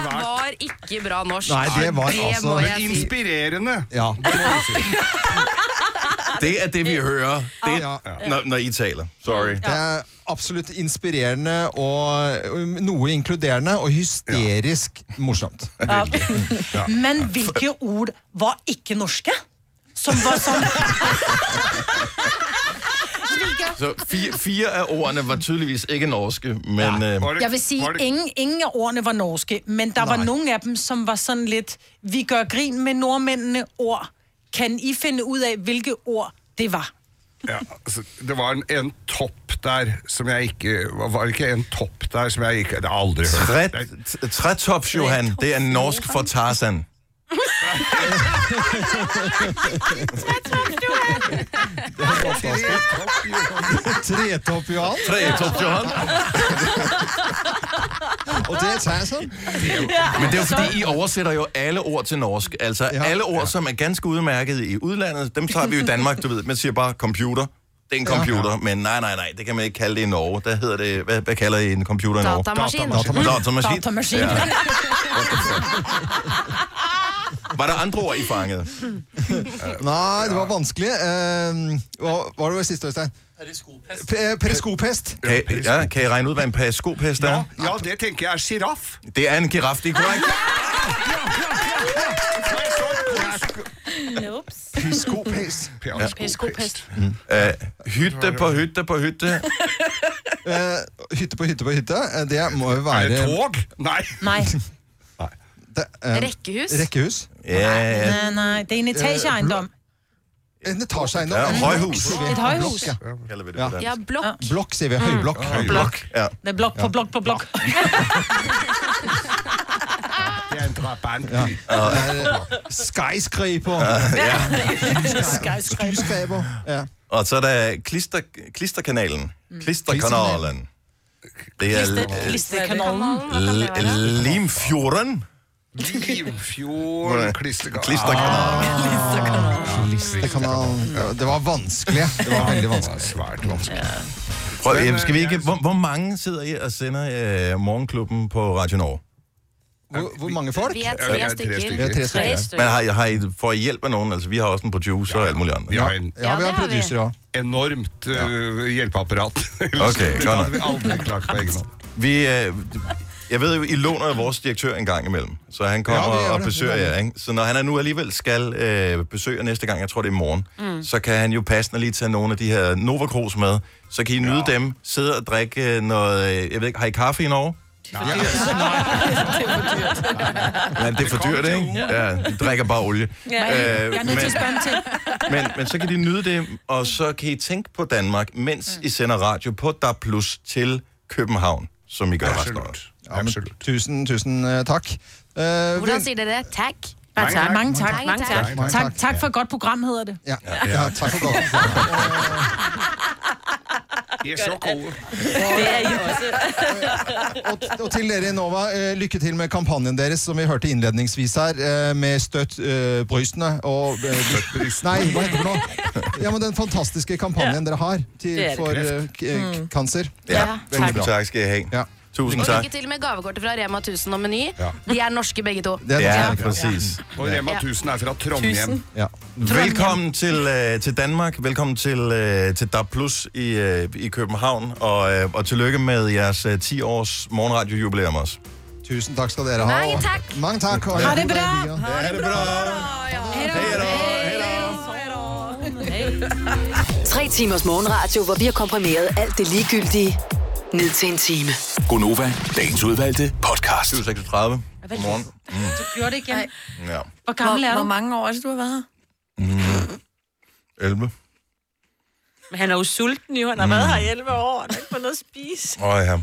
var ikke bra norsk. Nei, det var det altså må jeg si. Inspirerende. Ja. Det er det, vi hører, det, Ja. når, når I taler. Sorry. Det er absolutt inspirerende og um, noe inkluderende og hysterisk morsomt. Men hvilke ord var ikke norske? Som var sånn Så fire, fire af ordene var tydeligvis ikke norske, men... Øh, Var det- Jeg vil si var det- ingen, ingen av ordene var norske, men der var Nei. noen av dem som var sånn litt Vi gør grin med nordmennene ord. Kan I finne ut av hvilke ord det var? Ja, altså, det var en, en top der som jeg ikke Var det ikke en top der som jeg ikke Det har jeg aldri hørt. Træt- t- Trætops, Johan, det er norsk for Tarzan. Tre Topp Johan. Tre Topp Johan. Og det er Tasser. Men det er jo fordi, I oversætter jo alle ord til norsk. Altså ja, alle ord, ja. som er ganske udmærket i udlandet, dem tager vi jo i Danmark, du ved. Man siger bare computer. Det er en computer, ja, ja. men nej, nej, nej, det kan man ikke kalde det i Norge. Der hedder det, hvad, hvad kalder I en computer i Norge? Datamaskin. Datamaskin. Datamaskin. Datamaskin. Ja. Var der andre ord, I fangede? Nei, det var vanskelig. Eh, hva hva var det var siste, Øystein? Pe- eh, Periskopest. Kan, I- ja, kan I regne ud, hvad en periskopest er? Ja, det tenker jeg er sjiraff. Det er en giraf, det er korrekt. Ups. Periskopest. Periskopest. Uh, hytte på hytte på hytte. Eh, hytte på hytte på hytte, eh, det må jo være Er det tog? Nei. Nei. Det, eh, Rekkehus? Rekkehus. Eh, Ja, Nej, nej, det er Øh, en etageejendom. Eh, En etageejendom. Ja, højhus. Et højhus. Ja. Kalder vi det Ja. på Ja, dansk. blokk. Blok, sier vi. Mm. Høyblokk. Blok. Ja. Det er blok på blok på blok. Det er en drabant. Skyscraper. Øh, ja. Skyscraper. Ja. Og så er der klister, klisterkanalen. Mm. Klisterkanalen. Det er Listekanalen. l- l- Limfjorden. Limfjord, klisterkar... Klisterkanalen. Listekanalen. Ja, Det var vanskelig. Det var veldig vanskelig. Svært vanskelig. Prøv, øh, skal vi ikke, hvor, hvor mange sidder I og sender øh, Morgenklubben på Radio Norge? Hvor, hvor mange folk? Vi er Ja, tre vi er tre stykker. stykker. Vi er tre Tre stykker. Men stykker. har, I- har I, får I hjælp af nogen? Altså, vi har også en producer og alt muligt andet. Vi har en Ja, vi Ja, har det har vi. producer òg. enormt øh, hjelpeapparat. Okay, det godt nok. hadde vi aldri klart på egen hånd. Vi, øh, jeg ved jo, I låner jo vores direktør en gang imellem, så han kommer Ja, det ja, er og det. besøger Det er jer. Ikke? Så når han nu alligevel skal øh, besøge jer næste gang, jeg tror det er i morgen, mm. så kan han jo passende lige tage nogle af de her Nova Cruz med. Så kan I nyde ja. dem, sidde og drikke øh, noget... øh, Jeg ved ikke, har I kaffe i Norge? Nej, det er for dyrt, ikke? Ja, de drikker bare olie. Ja, Øh, jeg er nødt til at spørge dem til. men, men så kan de nyde det, og så kan I tænke på Danmark, mens I sender radio på DAB Plus til København, som I gør resten af Absolutt. året. Absolutt. Tusen, tusen eh, takk. Eh, Hvordan vel- sier dere det? Takk. Bare tak. Mange tak. Mange tak. Mange Tak, tak for et godt program, hedder det. Ja, ja, takk for godt. De er så gode. Det er I også. og, og til dere i Nova, eh, lykke til med kampanjen deres, som vi hørte innledningsvis her, eh, med støtt eh, brystene og eh, Nei, hva heter det for noe? Ja, men den fantastiske kampanjen dere har til, Det er det. for eh, k- eh, kanser. Ja, Veldig tusind bra. tak skal I have. Ja. Tusind Og tak. lykke til med gavekortet fra Rema 1000 og Meny. De er norske begge to. Det er Ja, det. præcis. Og Rema 1000 er fra Trondheim. Ja. Velkommen til, øh, til Danmark, velkommen til, øh, til DAB Plus i, øh, i København, og, øh, og tillykke med jeres øh, 10-års morgenradiojubilæum også. Tusen takk skal dere ha. Mange og- takk. Mange takk. og- Ha det bra. Ja. Ja, det er bra. Hej da. Hej da. Tre timers morgenradio, hvor vi har komprimeret alt det ligegyldige ned til en time. Gonova, dagens udvalgte podcast. 736. Godmorgen. Gjorde det igen. Ja. Hvor gammel Hvor, er hvor du? mange år er det, du har været her? Mm. 11. Men han er jo sulten, jo. Han har været her i 11 år. Han har ikke fået noget at spise. Åh ja.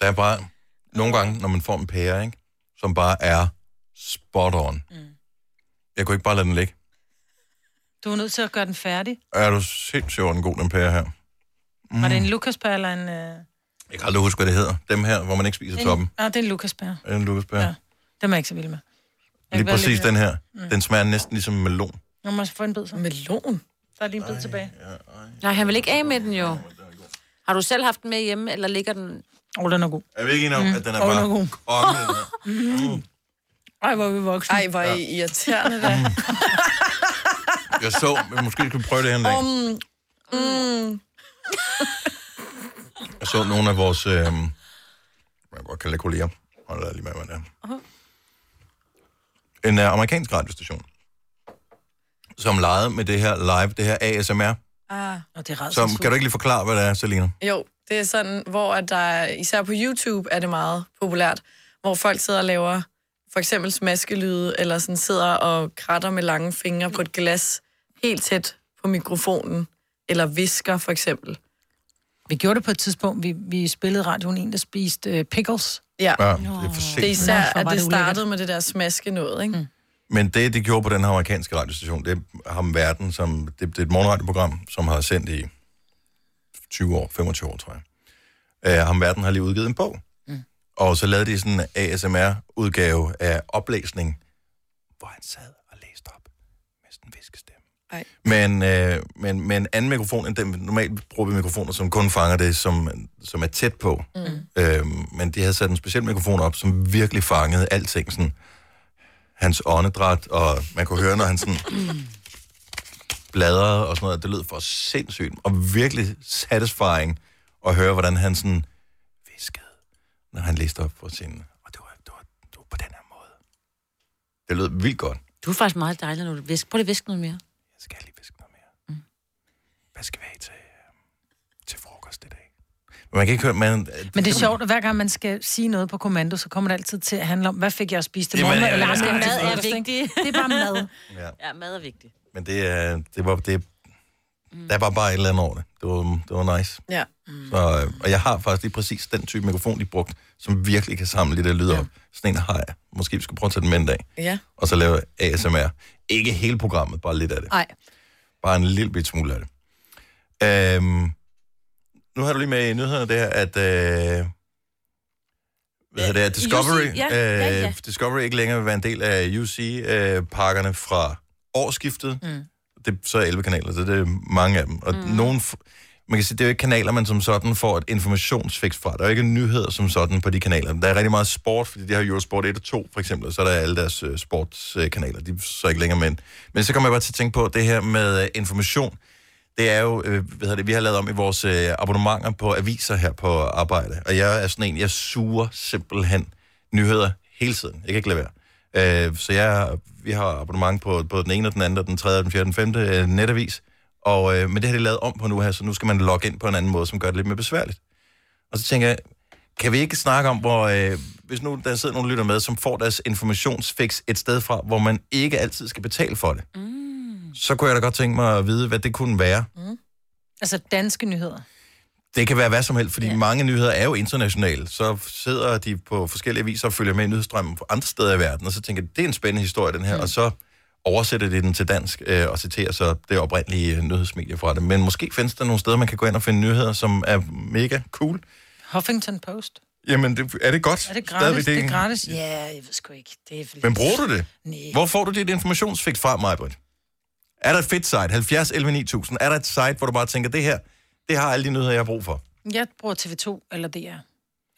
Der er bare nogle gange, når man får en pære, ikke? som bare er spot on. Mm. Jeg kunne ikke bare lade den ligge. Du er nødt til at gøre den færdig. Er du sindssygt over den god, den pære her? Mm. Var det en lukaspær eller en... Øh... Jeg kan aldrig huske, hvad det hedder. Dem her, hvor man ikke spiser toppen. en... Ah, det er en lukaspær. Er det En lukkespære. Ja. Dem er jeg ikke så vild med. Jeg Lige kan være præcis lidt- den her. Mm. Den smager næsten ligesom en melon. Nu må jeg få en bid så. Melon? Der er lige en bid tilbage. Nej, han vil ikke af med den, jo. Har du selv haft den med hjemme, eller ligger den... Åh, oh, den er god. Er vi ikke enige om, mm. at den er Åh, bare... den er god. Oh, Ej, hvor er vi voksne. Mm. Ej, hvor er I irriterende Mm. da. jeg så, men måske skulle prøve det her en dag. Mm, mm. Jeg så nogle af vores... Øh, man godt kalde det kolleger. Hold da lige med, hvad det er. En øh, amerikansk radiostation, som legede med det her live, det her ASMR. Ah. Og det er ret Som, kan du ikke lige forklare, hvad det er, Selina? Jo, det er sådan, hvor at der, er- især på YouTube er det meget populært, hvor folk sidder og laver for eksempel smaskelyde, eller sådan sidder og kratter med lange fingre på et glas helt tæt på mikrofonen, eller visker for eksempel. Vi gjorde det på et tidspunkt. Vi, vi spillede radioen en, der spiste øh, pickles. Ja, Ja, det er for det er sent. især, Nå, hvor at var det det ulækkert. startede med det der smaske noget, ikke? Men det, de gjorde på den her amerikanske radiostation, det har verden, som, det, det er et morgenradioprogram, som har sendt i 20 år, 25 år, tror jeg. Uh, ham verden har lige udgivet en bog. Mm. Mm. Og så lavede de sådan en ASMR-udgave af oplæsning, hvor han sad Ej. Men, øh, men, men anden mikrofon end den, normalt bruger vi mikrofoner, som kun fanger det, som, som er tæt på. Mm. Øhm, men de havde sat en speciel mikrofon op, som virkelig fangede alting. Sådan, hans åndedræt, og man kunne høre, når han sådan bladrede og sådan noget. Det lød for sindssygt, og virkelig satisfying at høre, hvordan han sådan viskede, når han læste op for sin... Og det var, det var, det var på den her måde. Det lød vildt godt. Du er faktisk meget dejlig, når du visker. Prøv lige at viske noget mere. Hvad skal vi have til, øh, til frokost i dag? Men man kan ikke høre... Man, Men det er sjovt, at hver gang man skal sige noget på kommando, så kommer det altid til at handle om, hvad fik jeg at spise til Jamen, morgen? ja, Eller ja, hvad skal ja. jeg have Mad til er frokost, ikke? Det er bare mad. Ja. ja, mad er vigtigt. Men det, er- det var... Det, mm. Der var bare et eller andet over det. Det var, det var nice. Ja. Så, øh, og jeg har faktisk lige præcis den type mikrofon, de brugte, som virkelig kan samle det der lyd op. Sådan en har jeg. Måske vi skal prøve at tage den med en dag, Ja. og så lave ASMR. Ikke hele programmet, bare lidt af Ah. det. Nej. Bare en lille bit smule af det. Øhm, nu har du lige med i nyhederne der, at... Øh, hvad hedder det? at Discovery, UC, ja, ja, ja. Øh, Discovery ikke længere vil være en del af UC-pakkerne fra årsskiftet. Mm. Det er så 11 kanaler, så det er mange af dem. Og mm. nogen, f- man kan sige, det er jo ikke kanaler, man som sådan får et informationsfix fra. Der er jo ikke nyheder som sådan på de kanaler. Der er rigtig meget sport, fordi de har Eurosport 1 og 2 for eksempel, og så er der alle deres øh, sportskanaler. De er så ikke længere med. Men så kommer jeg bare til at tænke på det her med øh, information. Det er jo, øh, hvad hedder det, vi har lavet om i vores øh, abonnementer på aviser her på arbejde. Og jeg er sådan en, jeg suger simpelthen nyheder hele tiden. Jeg kan ikke lade være. Øh, så jeg, vi har abonnement på både den ene og den anden, og den tredje, og den fjerde, og den femte øh, netavis. Og, øh, men det har de lavet om på nu her, så nu skal man logge ind på en anden måde, som gør det lidt mere besværligt. Og så tænker jeg, kan vi ikke snakke om, hvor, øh, hvis nu der sidder nogle lytter med, som får deres informationsfix et sted fra, hvor man ikke altid skal betale for det, mm. så kunne jeg da godt tænke mig at vide, hvad det kunne være. Altså danske nyheder. Det kan være hvad som helst, fordi ja. mange nyheder er jo internationale. Så sidder de på forskellige viser og følger med i nyhedsstrømmen fra andre steder i verden, og så tænker de, det er en spændende historie, den her, mm. og så oversætter de den til dansk øh, og citerer så det oprindelige øh, nyhedsmedie fra det. Men måske findes der nogle steder, man kan gå ind og finde nyheder, som er mega cool. Huffington Post. Jamen, det, er det godt? Er det Stadigvæk gratis? Det er gratis. Ja, jeg ved sgu ikke. Det er for Men lidt. bruger du det? Nej. Hvor får du dit informationsfix fra, Majbrit? Er der et fedt site? 70 11 9000. Er der et site, hvor du bare tænker, det her, det har alle de nyheder, jeg har brug for? Jeg bruger TV2 eller DR.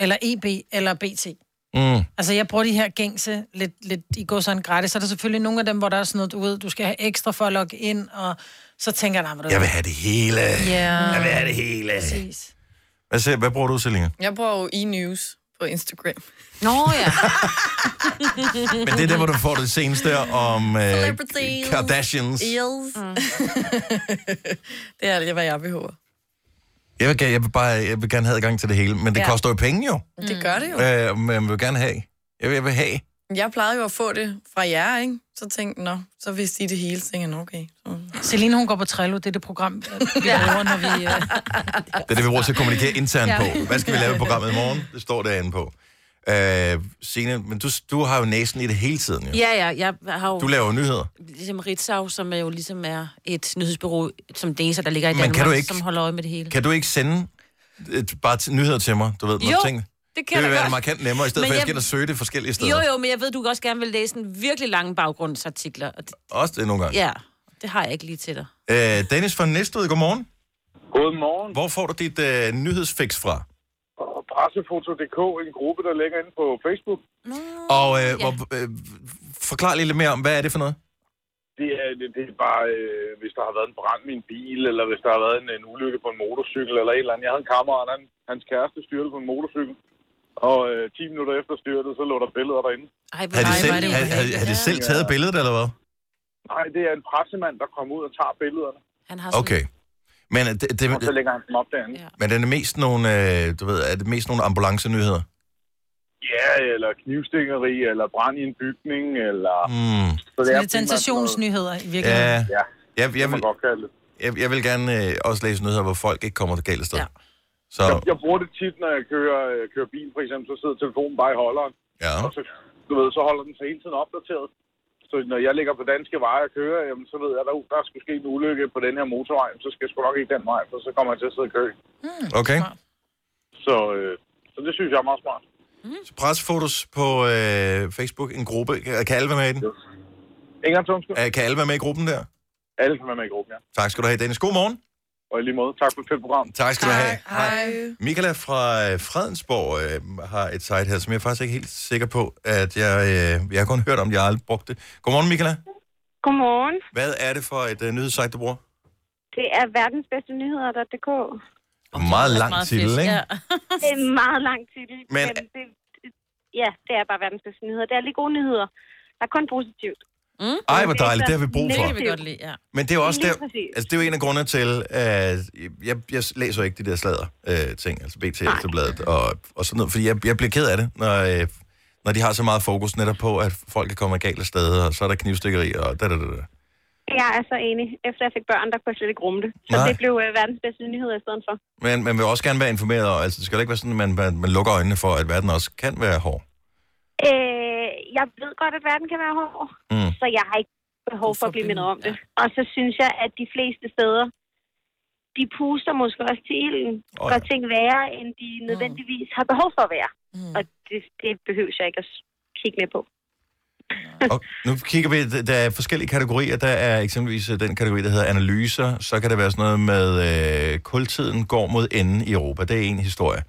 Eller EB eller BT. Mm. Altså, jeg bruger de her gængse lidt, lidt i går sådan gratis. Så er der selvfølgelig nogle af dem, hvor der er sådan noget, du ved, du skal have ekstra for at logge ind, og så tænker jeg, nej, hvor Jeg vil have det hele. Ja. Jeg vil have det hele. Præcis. Hvad, siger, hvad bruger du, Selina? Jeg bruger jo e-news på Instagram. Nå ja. Men det er der, hvor du får det seneste om øh, Celebrities. Kardashians. Eels. det er alt, hvad jeg behøver. Jeg vil, ga- jeg, vil bare, jeg vil gerne have adgang til det hele, men det Ja. ja. koster jo penge jo. Mm. Det gør det jo. Øh, men jeg vil gerne have. Jeg vil, jeg vil have. Jeg plejede jo at få det fra jer, ikke? Så tænkte jeg, nå, så vidste I det hele, så tænkte jeg, nå, okay. Celine, hun går på Trello, det er det program, vi bruger, når vi... Øh... Det er det, vi bruger til at kommunikere internt Ja. ja. på. Hvad skal vi lave i programmet i morgen? Det står derinde på. Øh, Signe, men du, du har jo næsen i det hele tiden jo. Ja, ja, jeg har jo... Du laver jo nyheder. Ligesom Ritzau, som er jo ligesom er et nyhedsbureau, som det eneste, der ligger i Men Danmark, kan du ikke- som holder øje med det hele. Kan du ikke sende øh, bare t- nyheder til mig? Du ved, når Jo, ting. det kan det jeg vil da være godt. markant nemmere, i stedet Men for at jeg jeg- skal ind og søge det forskellige steder. Jo, jo, men jeg ved, du også gerne vil læse en virkelig lange baggrundsartikler. Og det, Også det nogle gange. ja, det har jeg ikke lige til dig. Øh, Dennis fra Næstved, godmorgen. Godmorgen. Hvor får du dit øh, nyhedsfix fra? Og pressefoto.dk, en gruppe, der ligger inde på Facebook. Og øh, ja. hvor, øh, forklar lige lidt mere om, hvad er det for noget? Det er, det, det er bare, øh, hvis der har været en brand i en bil, eller hvis der har været en, en ulykke på en motorcykel, eller et eller andet. Jeg havde en kammerat, han, hans kæreste styrte på en motorcykel, og øh, 10 minutter efter styrtet, så lå der billeder derinde. Ej, Har de selv, har, har, har de selv taget billedet, eller hvad? Nej, det er en pressemand, der kommer ud og tager billederne. Han har Okay. Men, øh, det, Og så det, lægger han dem op derinde. Ja. men er det mest nogle, øh, du ved, er det mest nogle ambulancenyheder? ja, øh, eller knivstikkeri, eller brand i en bygning, eller... Mm. Så Sådan lidt primært sensationsnyheder i Ja, virkeligheden. ja. Jeg, jeg, vil, jeg, jeg vil gerne øh, også læse nyheder, hvor folk ikke kommer det galt sted. Ja. Jeg, Så, jeg bruger det tit, når jeg kører, øh, kører bil, for eksempel, så sidder telefonen bare i holderen. Ja. Og så, du ved, så holder den sig hele tiden opdateret. Så når jeg ligger på danske veje og kører, jamen, så ved jeg, at der skulle ske en ulykke på den her motorvej, så skal jeg sgu nok ikke den vej, for så kommer jeg til at sidde i kø. Okay. Så, øh, så det synes jeg er meget smart. Så pressefotos på øh, Facebook, en gruppe. Kan kan alle være med i den? Øh, Ingen gang Kan alle være med i gruppen der? Alle kan være med i gruppen, ja. Tak skal du have, Dennis. God morgen. Og i lige måde, tak for et fedt program. Tak skal du have. Michaela fra øh, Fredensborg øh, har et site her, som jeg er faktisk ikke helt sikker på, at jeg, øh, jeg har kun hørt om, jeg har aldrig brugt det. Godmorgen, Michaela. Godmorgen. Hvad er det for et øh, nyhedssite, du bruger? Det er verdensbedstenyheder.dk. Meget lang titel, ikke? Ja. Det er en meget lang titel. Men- det, det- ja, det er bare verdens bedste nyheder. Det er lige gode nyheder. Der er kun positivt. Mm. Ej, hvor dejligt. Det har vi brug for. Det kan vi godt lide, ja. Men det er jo også der, Lige præcis. altså det er jo en af grundene til, at jeg, jeg læser ikke de der sladder øh, ting, altså BT Ekstrabladet og, og sådan noget, fordi jeg, jeg bliver ked af det, når, øh, når de har så meget fokus netop på, at folk kan komme galt af steder, og så er der knivstikkeri og da, da, da, da. Jeg er så enig. Efter jeg fik børn, der kunne jeg slet ikke rumme det. Så Nej. Nej. det blev øh, verdens bedste nyheder i stedet for. Men man vil også gerne være informeret, og altså, det skal jo ikke være sådan, at man, man, man lukker øjnene for, at verden også kan være hård. Øh, jeg ved godt, at verden kan være hård, Mm. mm. så jeg har ikke behov for at blive mindet om det. Og så synes jeg, at de fleste steder, de puster måske også til ilden, oh, ja. og ting værre, end de Mm. nødvendigvis har behov for at være. Mm. Og det, det behøver jeg ikke at s- kigge med på. Nu kigger vi, der er forskellige kategorier. Der er eksempelvis øh, den kategori, der hedder analyser. Så kan der være sådan noget med, øh, kultiden går mod enden i Europa. Det er en historie.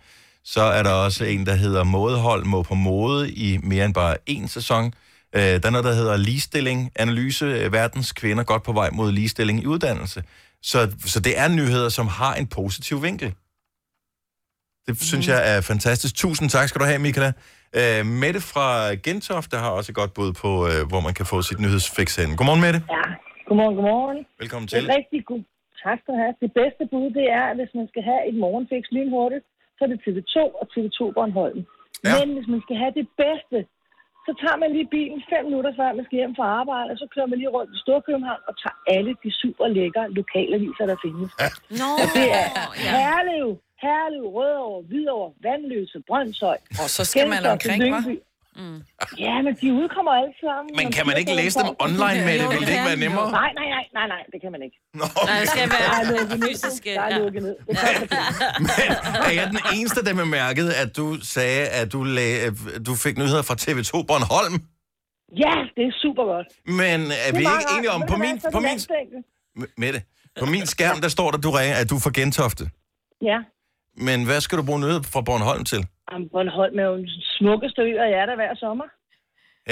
Så er der også en, der hedder modehold må på mode i mere end bare én sæson. Øh, der er noget, der hedder ligestilling. Analyse øh, verdens kvinder godt på vej mod ligestilling i uddannelse. Så, så det er nyheder, som har en positiv vinkel. Det synes jeg er fantastisk. Tusind tak skal du have, Michaela. Øh, Mette fra Gentofte har også et godt bud på, øh, hvor man kan få sit nyhedsfix hen. Godmorgen, Mette. Ja. Godmorgen, godmorgen. Velkommen Det til. er rigtig god. Tak skal du have. Det bedste bud, det er, at hvis man skal have et morgenfix lynhurtigt, så er det TV2 og TV2 Bornholm. Ja. Men hvis man skal have det bedste, så tager man lige bilen fem minutter før man skal hjem fra arbejde, og så kører man lige rundt i Storkøbenhavn og tager alle de super lækre lokalaviser, der findes. Ja. Nå, Og det er Herlev, Herlev, Rødovre, Hvidovre, Vandløse, Brøndshøj. Og så skal man Gentofte, omkring, hva'? Lyngby. Ja, men de udkommer alle sammen. Men kan man ikke læse dem online, Mette? Ville det ikke være nemmere? Nej, nej, nej, nej, nej, det kan man ikke. Nå, Nej, det skal være Der er lukket ned. fysiske, Der er ja. lukket ned. Det koster penge. Er jeg den eneste, der bemærkede, at du sagde, at du, lag, øh, du fik nyheder fra TV2 Bornholm? Ja, det er super godt. Men er vi ikke enige om, på min, på min, M- Mette, på min skærm, der står der, du ringer, at du er fra Gentofte. Ja, Men hvad skal du bruge nyheder fra Bornholm til? Jamen, Bornholm er jo den smukkeste ø, og jeg er der hver sommer.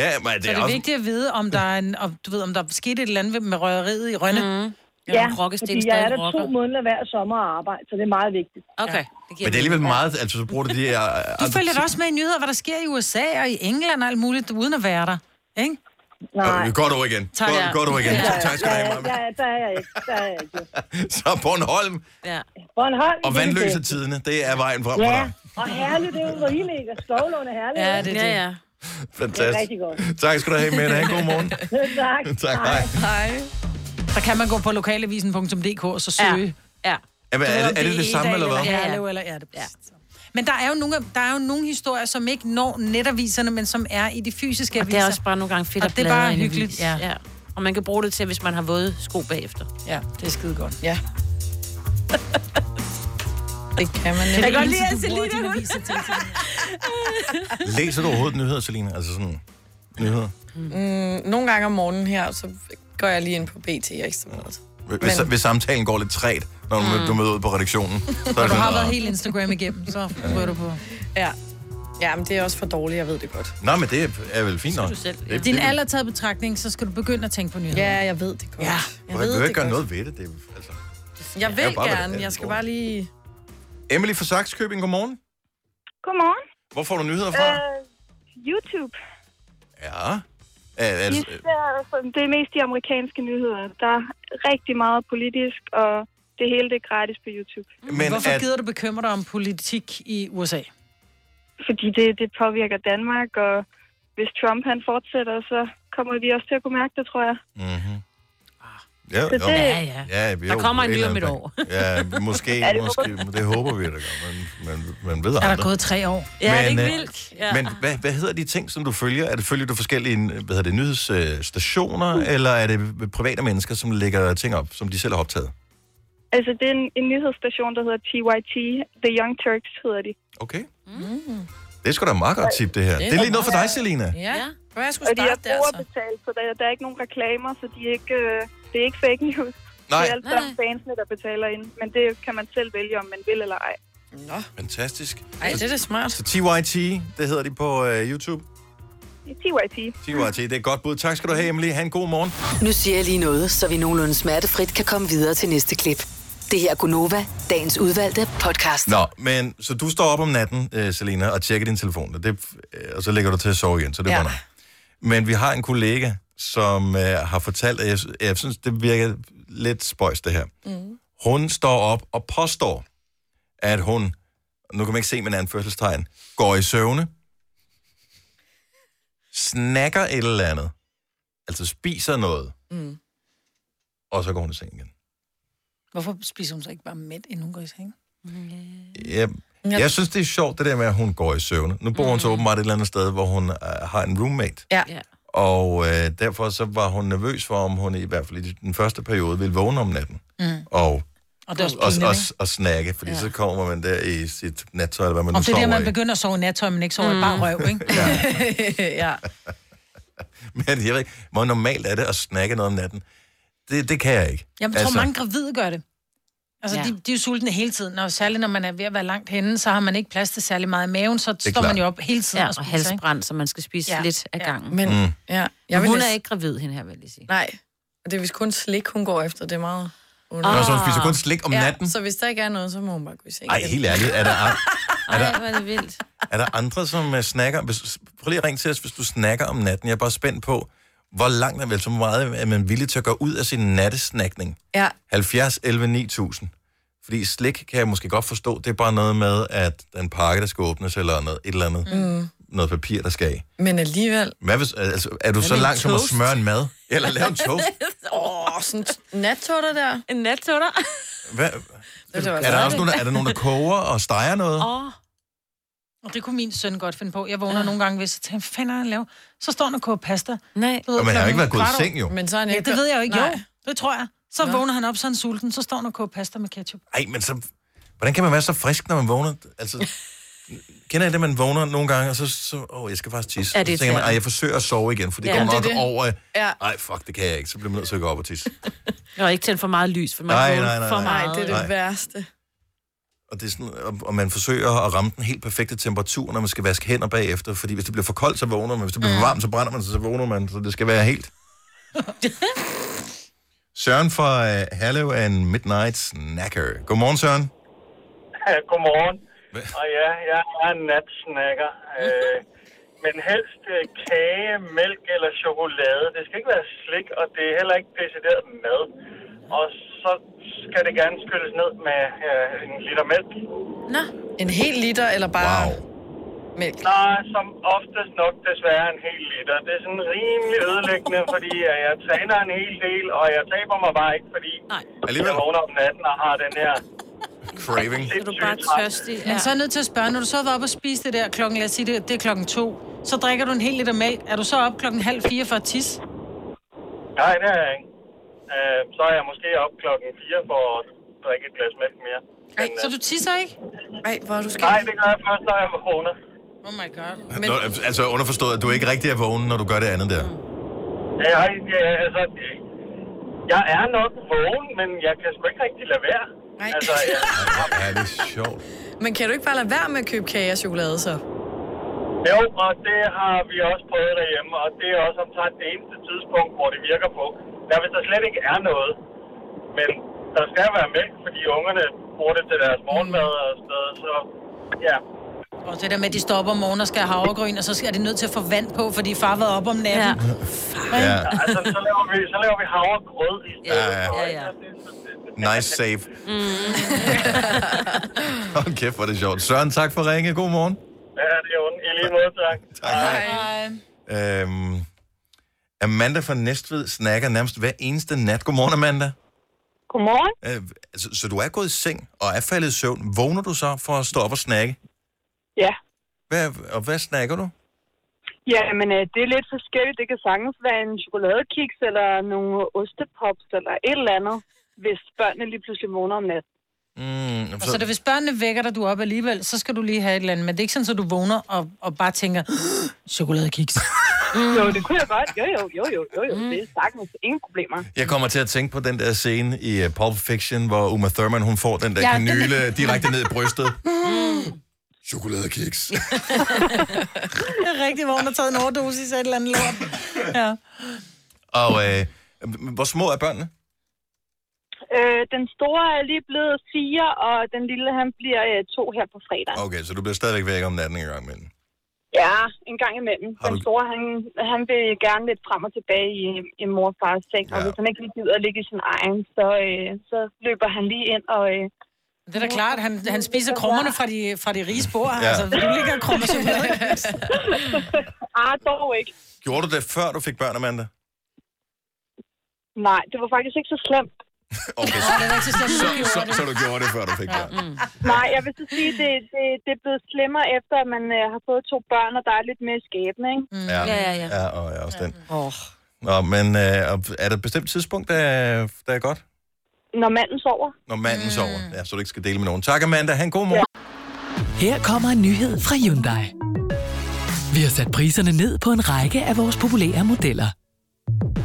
Ja, Så men det er, det det er også... vigtigt at vide, om der er, en, om, du ved, om der er sket et eller andet med røgeriet i Rønne. Mm. Ja, fordi jeg er der to måneder hver sommer og arbejde, så det er meget vigtigt. Okay. Men det er alligevel meget, altså så bruger du de her... Du følger da også med i nyheder, hvad der sker i USA og i England og alt muligt, uden at være der. Ikke? Nej. Godt over igen. Tak, ja. Godt, godt over igen. Ja, ja. Tak skal du have, Maja. Ja, der er jeg ikke. Der er jeg ikke. Så Bornholm Ja. Bornholm, og det er det vandløse bedste. tidene, det er vejen frem for Ja, dig. og Herlev, det er jo, hvor I ligger. Skovlån er Herlev. Ja, det er det. Ja, ja. Det er Fantastisk. rigtig godt. Tak skal du have, Mette. Ha' en god morgen. tak. Tak, hej. Hej. Så kan man gå på lokalavisen.dk og så søge. Ja. ja. Jamen, er det- er det det samme, eller hvad? Ja, ja. Eller, ja, det, ja. Men der er, jo nogle, der er jo nogle historier, som ikke når netaviserne, men som er i de fysiske Og det aviser. er også bare nogle gange fedt og at det er bladre bare i en avis. hyggeligt. Ja. ja. Og man kan bruge det til, hvis man har våde sko bagefter. Ja, det er skide godt. Ja. det kan man Jeg kan godt lide, at Selina, hun- Læser du overhovedet nyheder, Selina? Altså sådan nyheder? Mm, nogle gange om morgenen her, så går jeg lige ind på BT og Ekstrabladet. Hvis, Men- hvis samtalen går lidt træt, når du, Mm. du møder ud på redaktionen. Så er det Når du sådan, har været "Nå." helt Instagram igennem, så ryger du på. Ja. Ja, men det er også for dårligt, jeg ved det godt. Nå, men det er vel fint nok. Det- det- Din alder taget i betragtning, så skal du begynde at tænke på nyheder. Ja, jeg ved det godt. Ja. Jeg behøver ikke gøre noget ved det. det er- altså. Jeg Det er vil jo bare, hvad det gerne, er, jeg det skal bare lige... Emily fra Saxkøbing, godmorgen. Godmorgen. Hvor får du nyheder fra? Øh, YouTube. Ja. Er, er, det- Især, sådan, altså, det er mest de amerikanske nyheder. Der er rigtig meget politisk, og det hele det er gratis på YouTube. Men Hvorfor at... gider du bekymre dig om politik i USA? Fordi det, det påvirker Danmark, og hvis Trump han fortsætter, så kommer vi også til at kunne mærke det, tror jeg. Mm-hmm. Ah. Ja, Så det- jo. Ja, ja. ja vi Der jo kommer en et lille om eller et andet- Ja, måske, Ja, ja, det det håber måske. Men det håber vi, at der gør. Man, man, man ved Er der aldrig. gået tre år? Men, øh, Men hvad, hvad hedder de ting, som du følger? Er det følger du forskellige hvad hedder det, nyhedsstationer, mm. eller er det private mennesker, som lægger ting op, som de selv har optaget? Altså, det er en, en nyhedsstation, der hedder TYT. The Young Turks hedder de. Okay. Mm. Det er sgu da meget godt tip, det her. Det er, lige noget for dig, Selina. Ja, ja. jeg og skulle de er starte der, så. brugerbetalt, så der, der er ikke nogen reklamer, så de er ikke, øh, det er ikke fake news. Nej. Det er alt sammen fansene, der betaler ind. Men det kan man selv vælge, om man vil eller ej. Nå. Fantastisk. Ej, det er da smart. Så TYT, det hedder de på øh, YouTube. TYT. TYT, det er et godt bud. Tak skal du have, Emily. Ha' en god morgen. Nu siger jeg lige noget, så vi nogenlunde smertefrit kan komme videre til næste klip. Det her er Gunova, dagens udvalgte podcast. Nå, men så du står op om natten, øh, Selina, og tjekker din telefon, og, det, øh, og så lægger du til at sove igen, så det er Ja. ja. Men vi har en kollega, som øh, har fortalt, at jeg, jeg synes, det virker lidt spøjs, det her. Mm. Hun står op og påstår, at hun, nu kan man ikke se med anførselstegn, går i søvne, snakker et eller andet, altså spiser noget, Mm. og så går hun i seng igen. Hvorfor spiser hun så ikke bare mæt, inden hun går i seng? Jeg, jeg synes, det er sjovt, det der med, at hun går i søvne. Nu bor Mm. hun så åbenbart et eller andet sted, hvor hun øh, har en roommate. Ja. Og øh, derfor så var hun nervøs for, om hun i hvert fald i den første periode ville vågne om natten. Mm. Og, Og det er også og, pinligt, og, ikke? og snakke, fordi ja. så kommer man der i sit nattøj, eller hvad man Om nu det er der, sover man i. begynder at sove i nattøj, men ikke sover i Mm. bare røv, ikke? ja. Men jeg ved ikke, hvor normalt er det at snakke noget om natten? Det, det kan jeg ikke. Jamen, jeg tror, mange gravide gør det. Altså, ja. de, de er jo sultne hele tiden, og særligt når man er ved at være langt henne, så har man ikke plads til særlig meget i maven, så står man klart. jo op hele tiden Ja, og og spiser, halsbrand, så man skal spise Ja, lidt af ja. gangen. Men- Mm. ja, jeg jeg vil hun er næsten- ikke gravid, hende her, vil jeg lige sige. Nej, og det er vist kun slik, hun går efter. Det er meget... Nå, så hun spiser kun slik om ja, natten? så hvis der ikke er noget, så må hun bare gå i seng. Ej, igen. helt ærligt, er der, an- er der, hvor er det vildt. er der andre, som uh, snakker? Hvis, prøv lige at ringe til os, hvis du snakker om natten. Jeg er bare spændt på, hvor langt er vel så meget, er man villig til at gå ud af sin nattesnakning? Ja, 70, 11, 9000. Fordi slik kan jeg måske godt forstå, det er bare noget med, at der er en pakke, der skal åbnes, eller noget, et eller andet, Mm. mm. noget papir, der skal af. men alligevel... Hvad hvis, altså, er du Hvad så med en langt som at toast? smøre en mad? Eller lave en toast? Åh, oh, sådan en nattutter der. En nattutter? Hvad? Det var Er der, også det. nogen, der, er der nogen, der koger og steger noget? Åh. Og det kunne min søn godt finde på. Jeg vågner ja. nogle gange, hvis jeg tænker, hvad fanden har han lavet? Så står han og koger pasta. Nej. Og man har jo ikke været gået i seng, jo. Men så er han ja, ikke- det ved jeg jo ikke. Nej. Jo, det tror jeg. Så Nå. vågner han op, så er han sulten, så står han og koger pasta med ketchup. Ej, men så... Hvordan kan man være så frisk, når man vågner? Altså, kender jeg det, man vågner nogle gange, og så... så åh, jeg skal faktisk tisse. Ja, Ja, det er det tænker man, irriterende. ej, jeg forsøger at sove igen, for det Ja, ja, går det er nok det. det. over... Ja. Ej, fuck, det kan jeg ikke. Så bliver man nødt til at gå op og tisse. Og ikke tænde for meget lys, for man Nej, får nej, nej, for nej. meget. Nej, det er det Nej. værste. Og, det er sådan, og- og man forsøger at ramme den helt perfekte temperatur, når man skal vaske hænder bagefter. Fordi hvis det bliver for koldt, så vågner man. Hvis det bliver for varmt, så brænder man sig, så vågner man. Så det skal være helt... Søren fra øh, Herlev er en midnight snacker. Godmorgen, Søren. Godmorgen. Og ja, jeg er en natsnacker. Øh, men helst øh, kage, mælk eller chokolade. Det skal ikke være slik, og det er heller ikke decideret mad. Og så skal det gerne skylles ned med øh, en liter mælk. Nå, en hel liter eller bare... Wow. Mælk. Nej, som oftest nok desværre en hel liter. Det er sådan rimelig ødelæggende, fordi øh, jeg træner en hel del, og jeg taber mig bare ikke, fordi jeg vågner om natten og har den her... Craving. Er du bare tørstig? Ja. Men så er jeg nødt til at spørge, når du så har været oppe og spise det der klokken, lad os sige det, det er klokken to, så drikker du en hel liter mælk. Er du så op klokken halv fire for at tisse? Nej, det er jeg ikke. Øh, så er jeg måske op klokken 4 for at drikke et glas mælk mere. Ej, så du tisser ikke? Nej, hvor er du skal... Nej, det gør jeg først, når jeg vågner. Oh my god. Men... Nå, altså underforstået, at du ikke rigtig er vågen, når du gør det andet der. Jeg, jeg, altså, jeg er nok vågen, men jeg kan sgu ikke rigtig lade være. Nej. Altså, jeg, Ja, det er sjovt. Men kan du ikke bare lade være med at købe kage og chokolade, så? jo, og det har vi også prøvet derhjemme, og det er også omtrent det eneste tidspunkt, hvor det virker på. Der hvis der slet ikke er noget, men der skal være mælk, fordi ungerne bruger det til deres morgenmad og sådan noget, så ja. Og det der med, at de står op om morgenen og skal have havregryn, og så skal- er de nødt til at få vand på, fordi far har været op om natten. Ja. Ja. Altså, så laver vi, så laver vi havregrød i stedet. Ja, ja. for, Ja, ikke? Nice save. Mm. Hold mm. kæft, hvor er det sjovt. Søren, tak for at ringe. God morgen. Ja, det er ondt. I lige måde, tak. tak. Hej. Øhm, Amanda fra Næstved snakker nærmest hver eneste nat. Godmorgen, Amanda. Godmorgen. Øh, så, så du er gået i seng og er faldet i søvn. Vågner du så for at stå op og snakke? Ja. Hvad, og hvad snakker du? Ja, men øh, det er lidt forskelligt. Det kan sagtens være en chokoladekiks eller nogle ostepops eller et eller andet, hvis børnene lige pludselig vågner om natten. Mm, Og så er det, hvis børnene vækker dig, du er op alligevel, så skal du lige have et eller andet. Men det er ikke sådan, at du vågner og, og bare tænker, "Åh, chokoladekiks. Mm. Jo, det kunne jeg godt. Jo, jo, jo, jo, jo, jo. Mm. Det er sagtens ingen problemer. Jeg kommer til at tænke på den der scene i uh, Pulp Fiction, hvor Uma Thurman hun får den der Ja, ja, den- kanyle den... direkte ned i brystet. Chokoladekiks. Det er rigtigt, hvor hun har taget en overdosis af et eller andet lort. Ja. Og øh, hvor små er børnene? Øh, den store er lige blevet fire, og den lille han bliver øh, to her på fredag. Okay, så du bliver stadigvæk væk om natten en gang imellem. Ja, en gang imellem. Har Den du- store, han, han vil gerne lidt frem og tilbage i, i mor og fars seng, ja. og hvis han ikke lige gider at ligge i sin egen, så, øh, så løber han lige ind og... Øh, Det er da klart, han, han spiser krummerne fra de, fra de altså. rige spor. Ja. Altså, du ligger og krummer chokoladekiks. ah, dog ikke. Gjorde du det, før du fik børn, Amanda? Nej, det var faktisk ikke så slemt. Okay, så, så, så, så, så du gjorde det, før du fik børn. Nej, jeg vil så sige, det, det, det er blevet slemmere efter, at man øh, har fået to børn, og der er lidt mere skæbne, ikke? Mm. ja og jeg er også den. Oh. Nå, men øh, og er der et bestemt tidspunkt, der, er- der er godt? Når manden sover. Når manden mm. sover. Ja, så du ikke skal dele med nogen. Tak, Amanda. Han god morgen. Her kommer en nyhed fra Hyundai. Vi har sat priserne ned på en række af vores populære modeller.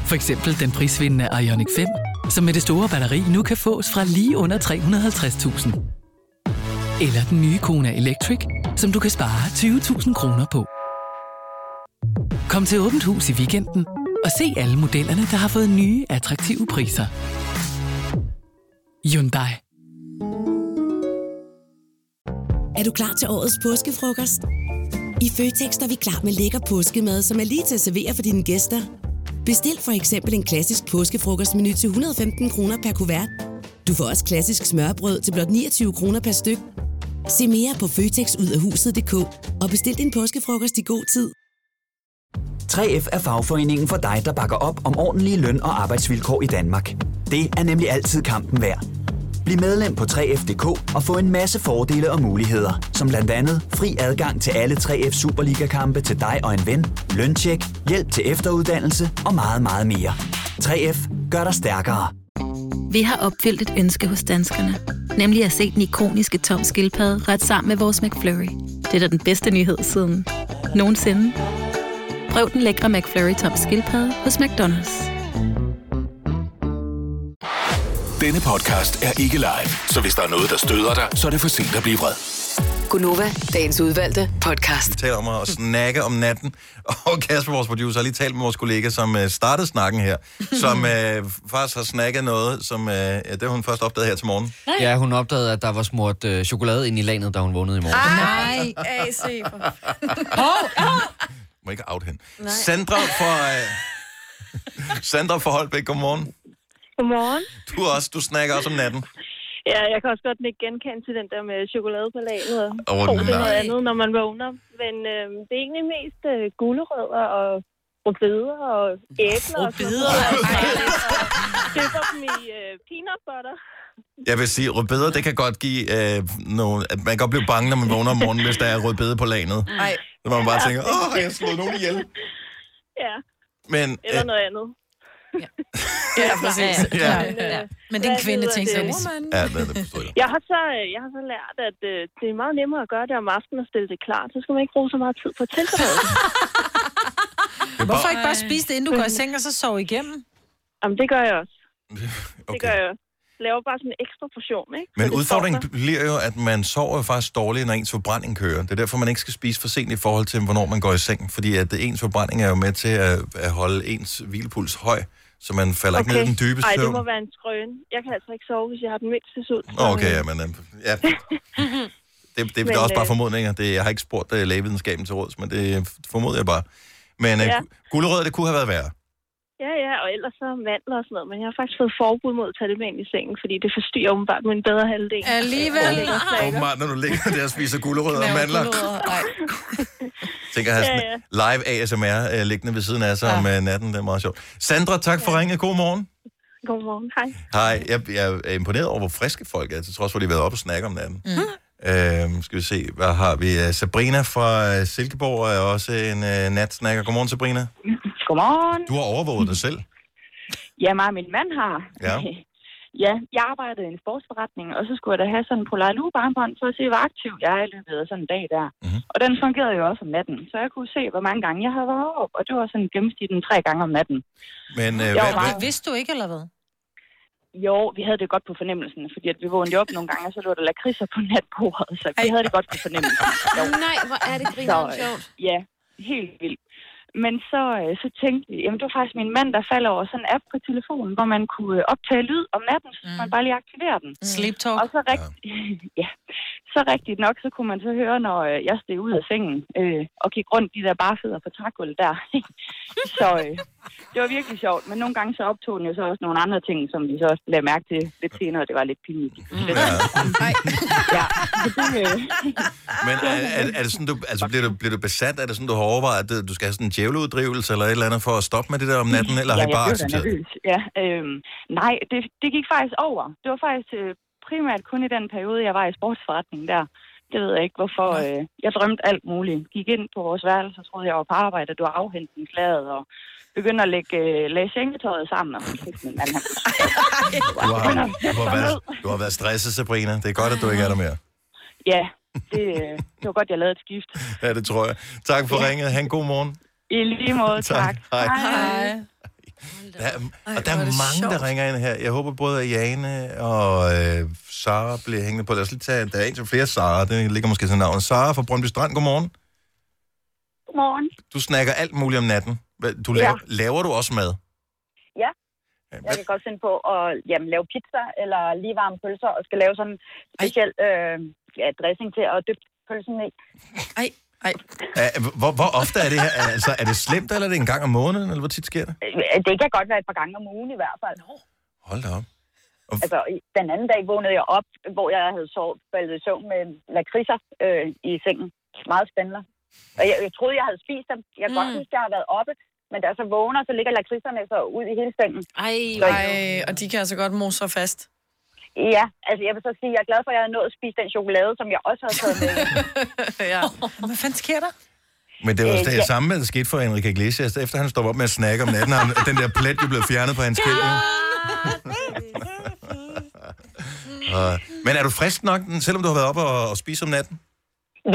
For eksempel den prisvindende Ioniq 5, som med det store batteri nu kan fås fra lige under 350.000. Eller den nye Kona Electric, som du kan spare 20.000 kroner på. Kom til Åbent Hus i weekenden og se alle modellerne, der har fået nye, attraktive priser. Hyundai. Er du klar til årets påskefrokost? I Føtex er vi klar med lækker påskemad, som er lige til at servere for dine gæster. Bestil for eksempel en klassisk påskefrokostmenu til 115 kroner per kuvert. Du får også klassisk smørbrød til blot 29 kroner per styk. Se mere på føtexudafhuset.dk og bestil din påskefrokost i god tid. 3F er fagforeningen for dig, der bakker op om ordentlige løn- og arbejdsvilkår i Danmark. Det er nemlig altid kampen værd. Bliv medlem på 3F.dk og få en masse fordele og muligheder, som blandt andet fri adgang til alle 3F Superliga-kampe til dig og en ven, løntjek, hjælp til efteruddannelse og meget, meget mere. 3F gør dig stærkere. Vi har opfyldt et ønske hos danskerne. Nemlig at se den ikoniske tom skildpadde ret sammen med vores McFlurry. Det er da den bedste nyhed siden nogensinde. Prøv den lækre McFlurry tom skildpadde hos McDonald's. Denne podcast er ikke live, så hvis der er noget, der støder dig, så er det for sent at blive vred. Gunova, dagens udvalgte podcast. Vi taler om at snakke om natten. Og Kasper, vores producer, har lige talt med vores kollega, som øh, startede snakken her, som øh, faktisk har snakket noget, som øh, ja, det har hun først opdaget her til morgen. Ja, hun opdagede, at der var smurt øh, chokolade ind i landet, da hun vågnede i morgen. Nej, AC. for Må ikke out hende. Sandra fra... Øh, Sandra fra Holbæk, godmorgen. Godmorgen. Du, er også, du snakker også om natten. Ja, jeg kan også godt ikke genkende til den der med chokolade på laget. Og Åh, oh, det er noget nej. andet, når man vågner. Men øh, det er egentlig mest øh, gulerødder og rødbeder og æbler. Rødbeder? Køber dem i øh, peanut butter. Jeg vil sige, rødbeder, det kan godt give øh, nogle... At man kan godt blive bange, når man vågner om morgenen, hvis der er rødbede på lanet. Nej. Så man bare tænker, åh, har jeg slået nogen ihjel. Ja, Men eller øh, øh, noget andet. Ja, præcis. Ja. Men, øh, Men det er en hvad kvinde hedder ting, det? ja, det, det forstår jeg. Jeg har, så, øh, jeg har så lært, at øh, det er meget nemmere at gøre det om aftenen og stille det klart. Så skal man ikke bruge så meget tid på at tilberede det. Hvorfor ikke bare spise det, inden du går i seng, og så sove igennem? Jamen, det gør jeg også. Okay. Det gør jeg også. Laver bare sådan en ekstra portion, ikke? Men udfordringen bliver jo, at man sover jo faktisk dårligt, når ens forbrænding kører. Det er derfor, man ikke skal spise for sent i forhold til, hvornår man går i seng. Fordi at ens forbrænding er jo med til at, at holde ens hvilepuls høj, så man falder okay. ikke ned i den dybe Ej, det søvn. må være en skrøn. Jeg kan altså ikke sove, hvis jeg har den mindste sult. Nå, Okay, ja, men øh, ja. Det, det Men, er også bare øh, formodninger. Det, jeg har ikke spurgt uh, lægevidenskaben til råds, men det formoder jeg bare. Men uh, Ja. ja. gulerød, det kunne have været værre. Ja, ja, og ellers så mandler og sådan noget. Men jeg har faktisk fået forbud mod at tage det med ind i sengen, fordi det forstyrrer åbenbart min bedre halvdel. Alligevel. Åbenbart, når du ligger der og spiser gulerødder og mandler. Tænk at have Ja, sådan live ASMR øh, liggende ved siden af sig ja. om øh, natten. Det er meget sjovt. Sandra, tak for ja. ringet. God morgen. Godmorgen, hej. Hej. Jeg, jeg er imponeret over, hvor friske folk er, til trods for, at de har været oppe og snakke om natten. Mm. Øhm, skal vi se, hvad har vi? Øh, Sabrina fra øh, Silkeborg er også en øh, natsnakker. Godmorgen, Sabrina. Godmorgen. Du har overvåget dig selv. Ja, mig og min mand har. Ja. Ja, jeg arbejdede i en sportsforretning, og så skulle jeg da have sådan en Polar Lue armbånd for at se, hvor aktiv jeg er i løbet af sådan en dag der. Mhm. Mm-hmm. Og den fungerede jo også om natten, så jeg kunne se, hvor mange gange jeg havde været op, og det var sådan gennemsnitligt tre gange om natten. Men øh, Jeg hvad, var hvad, meget- Vidste du ikke, eller hvad? Jo, vi havde det godt på fornemmelsen, fordi at vi vågnede op nogle gange, og så lå der lakridser på natbordet, så vi havde det godt på fornemmelsen. Jo. Nej, hvor er det Så, grineren øh, sjovt. Ja, helt vildt. Men så, øh, så tænkte vi, jamen det var faktisk min mand, der falder over sådan en app på telefonen, hvor man kunne øh, optage lyd om natten, så mm. man bare lige aktiverer den. Sleep talk. Og så rigtigt, ja. ja. så rigtigt nok, så kunne man så høre, når øh, jeg steg ud af sengen øh, og gik rundt de der barfødder på trægulvet der. så øh, det var virkelig sjovt, men nogle gange så optog den jo så også nogle andre ting, som vi så også lagde mærke til lidt senere, det var lidt pinligt. Mm. Ja. ja, så det, øh, men er, er, er det sådan, du, altså, bliver, du, bliver du besat? Er det sådan, du har overvejet, at øh, du skal have sådan en djæveleuddrivelse eller et eller andet for at stoppe med det der om natten? Eller ja, har I bare jeg blev da accepteret? det? nervøs. Ja, øhm, nej, det, det gik faktisk over. Det var faktisk øh, primært kun i den periode, jeg var i sportsforretningen der. Det ved jeg ikke, hvorfor. Øh, jeg drømte alt muligt. Gik ind på vores værelse, og troede, jeg var på arbejde, og du har afhentningslaget, og begyndte at lægge, øh, lægge sengetøjet sammen. Og så tænkte min mand, han kunne Du har, du, har været, du har været stresset, Sabrina. Det er godt, at du ikke er der mere. Ja, det, øh, det var godt, jeg lavede et skift. Ja, det tror jeg. Tak for ringet. Ha' en god morgen. I lige måde, Tak. tak. Hej. Hej. Der er, og hvor der er, er det mange, der sjovt. ringer ind her. Jeg håber både, at Jane og øh, Sara bliver hængende på. Lad os lige tage, der er en til flere Sara. Det ligger måske sådan navnet. Sara fra Brøndby Strand, godmorgen. Godmorgen. Du snakker alt muligt om natten. Hvad- Du laver, ja. laver du også mad? Ja, jeg kan godt finde på at jamen, lave pizza eller lige varme pølser, og skal lave sådan en speciel øh, ja, dressing til at dyppe pølsen i. Ej, ej. Er, hvor, hvor ofte er det her? Er- Altså, er det slemt, eller er det en gang om måneden? Eller hvor tit sker det? Øh, Det kan godt være et par gange om ugen i hvert fald. Hold da op. Altså, i- den anden dag vågnede jeg op, hvor jeg havde sovet, faldet i søvn med lakridser øh, i sengen. Meget spændende. Og jeg, jeg troede, jeg havde spist dem. Jeg kan mm. godt huske, jeg har været oppe, men da jeg så vågner, så ligger lakridserne så ud i hele sengen. Ej, Ej, og de kan altså godt mose sig fast. Ja, altså jeg vil så sige, jeg er glad for, at jeg har nået at spise den chokolade, som jeg også havde taget med. ja. Hvad fanden sker der? Men det var Øh, det ja. samme, der skete for Enrique Iglesias. Efter han stopper op med at snakke om natten, har han- den der plet jo blevet fjernet på hans skilt. ikke? Og- Men er du frisk nok, selvom du har været oppe og, og spise om natten?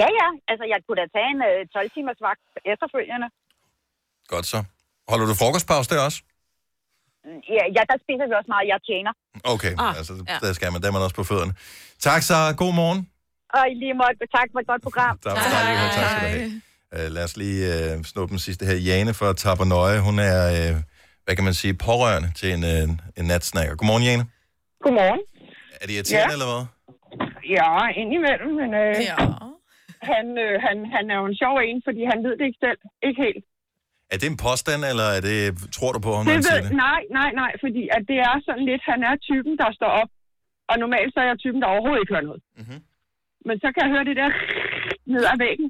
Ja, ja. Altså, jeg kunne da tage en øh, 12-timers vagt efterfølgende. Godt så. Holder du frokostpause der også? Mm, Ja, ja, der spiser vi også meget. Jeg tjener. Okay, Ah, ah, altså, ja. der skal man, der er man også på fødderne. Tak så, god morgen. Og i lige måde, tak for et godt program. Der var dejligt, og tak skal du have. Uh, lad os lige uh, snuppe den sidste her. Jane fra Tabernøje, hun er, uh, hvad kan man sige, pårørende til en, uh, en natsnakker. Godmorgen, Jane. Godmorgen. Er det irriterende, Ja. eller hvad? Ja, indimellem, men øh, ja. han, øh, han, han er jo en sjov en, fordi han ved det ikke selv. Ikke helt. Er det en påstand, eller er det, tror du på ham, når Det han ved, siger det? nej, nej, nej, fordi at det er sådan lidt, han er typen, der står op. Og normalt så er jeg typen, der overhovedet ikke hører noget. Mm-hmm. Men så kan jeg høre det der ned ad væggen.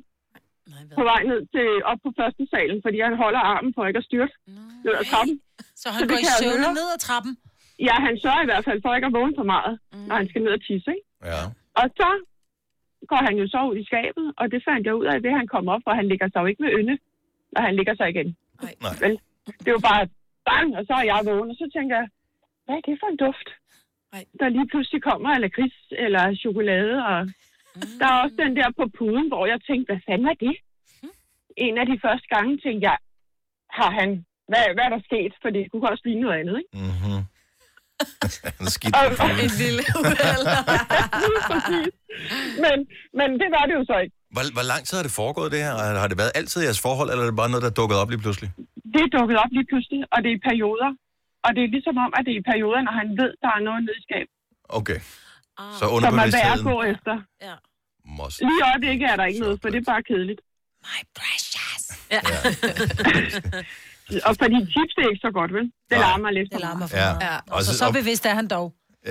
På vej ned til, op på første salen, fordi han holder armen for ikke at styrte. Ned ad trappen. Så han går det i kan jeg søvne høre. ned ad trappen? Ja, han sørger i hvert fald for ikke at vågne for meget, mm. når han skal ned og tisse, ikke? Ja. Og så går han jo så ud i skabet, og det fandt jeg ud af, ved han kom op, for han ligger sig jo ikke med ynde, når han ligger sig igen. Nej. Vel? Det er jo bare bang, og så er jeg vågen, og så tænker jeg, hvad er det for en duft? Nej. Der lige pludselig kommer eller gris eller chokolade, og der er også den der på puden, hvor jeg tænkte, hvad fanden er det? En af de første gange tænkte jeg, har han, hvad, hvad er der sket? For det kunne også ligne noget andet, ikke? Mm-hmm. Skidt. Og- En lille uheld. men, men det var det jo så ikke. Hvor, hvor lang tid har det foregået, det her? Og Har det været altid i jeres forhold, eller er det bare noget, der er dukket op lige pludselig? Det er dukket op lige pludselig, og det er i perioder. Og det er ligesom om, at det er i perioder, når han ved, der er noget nede i skabet, Okay. Så Ah. som er værd at underbevidstheden gå efter. Ja. Lige i øjeblikket er der ikke noget, for det er bare kedeligt. My precious. Ja. og fordi chips det er ikke så godt, vel? Det Nej. larmer lidt. Det larmer for Ja. meget. Ja. Og Og så, så- så og- bevidst er han dog.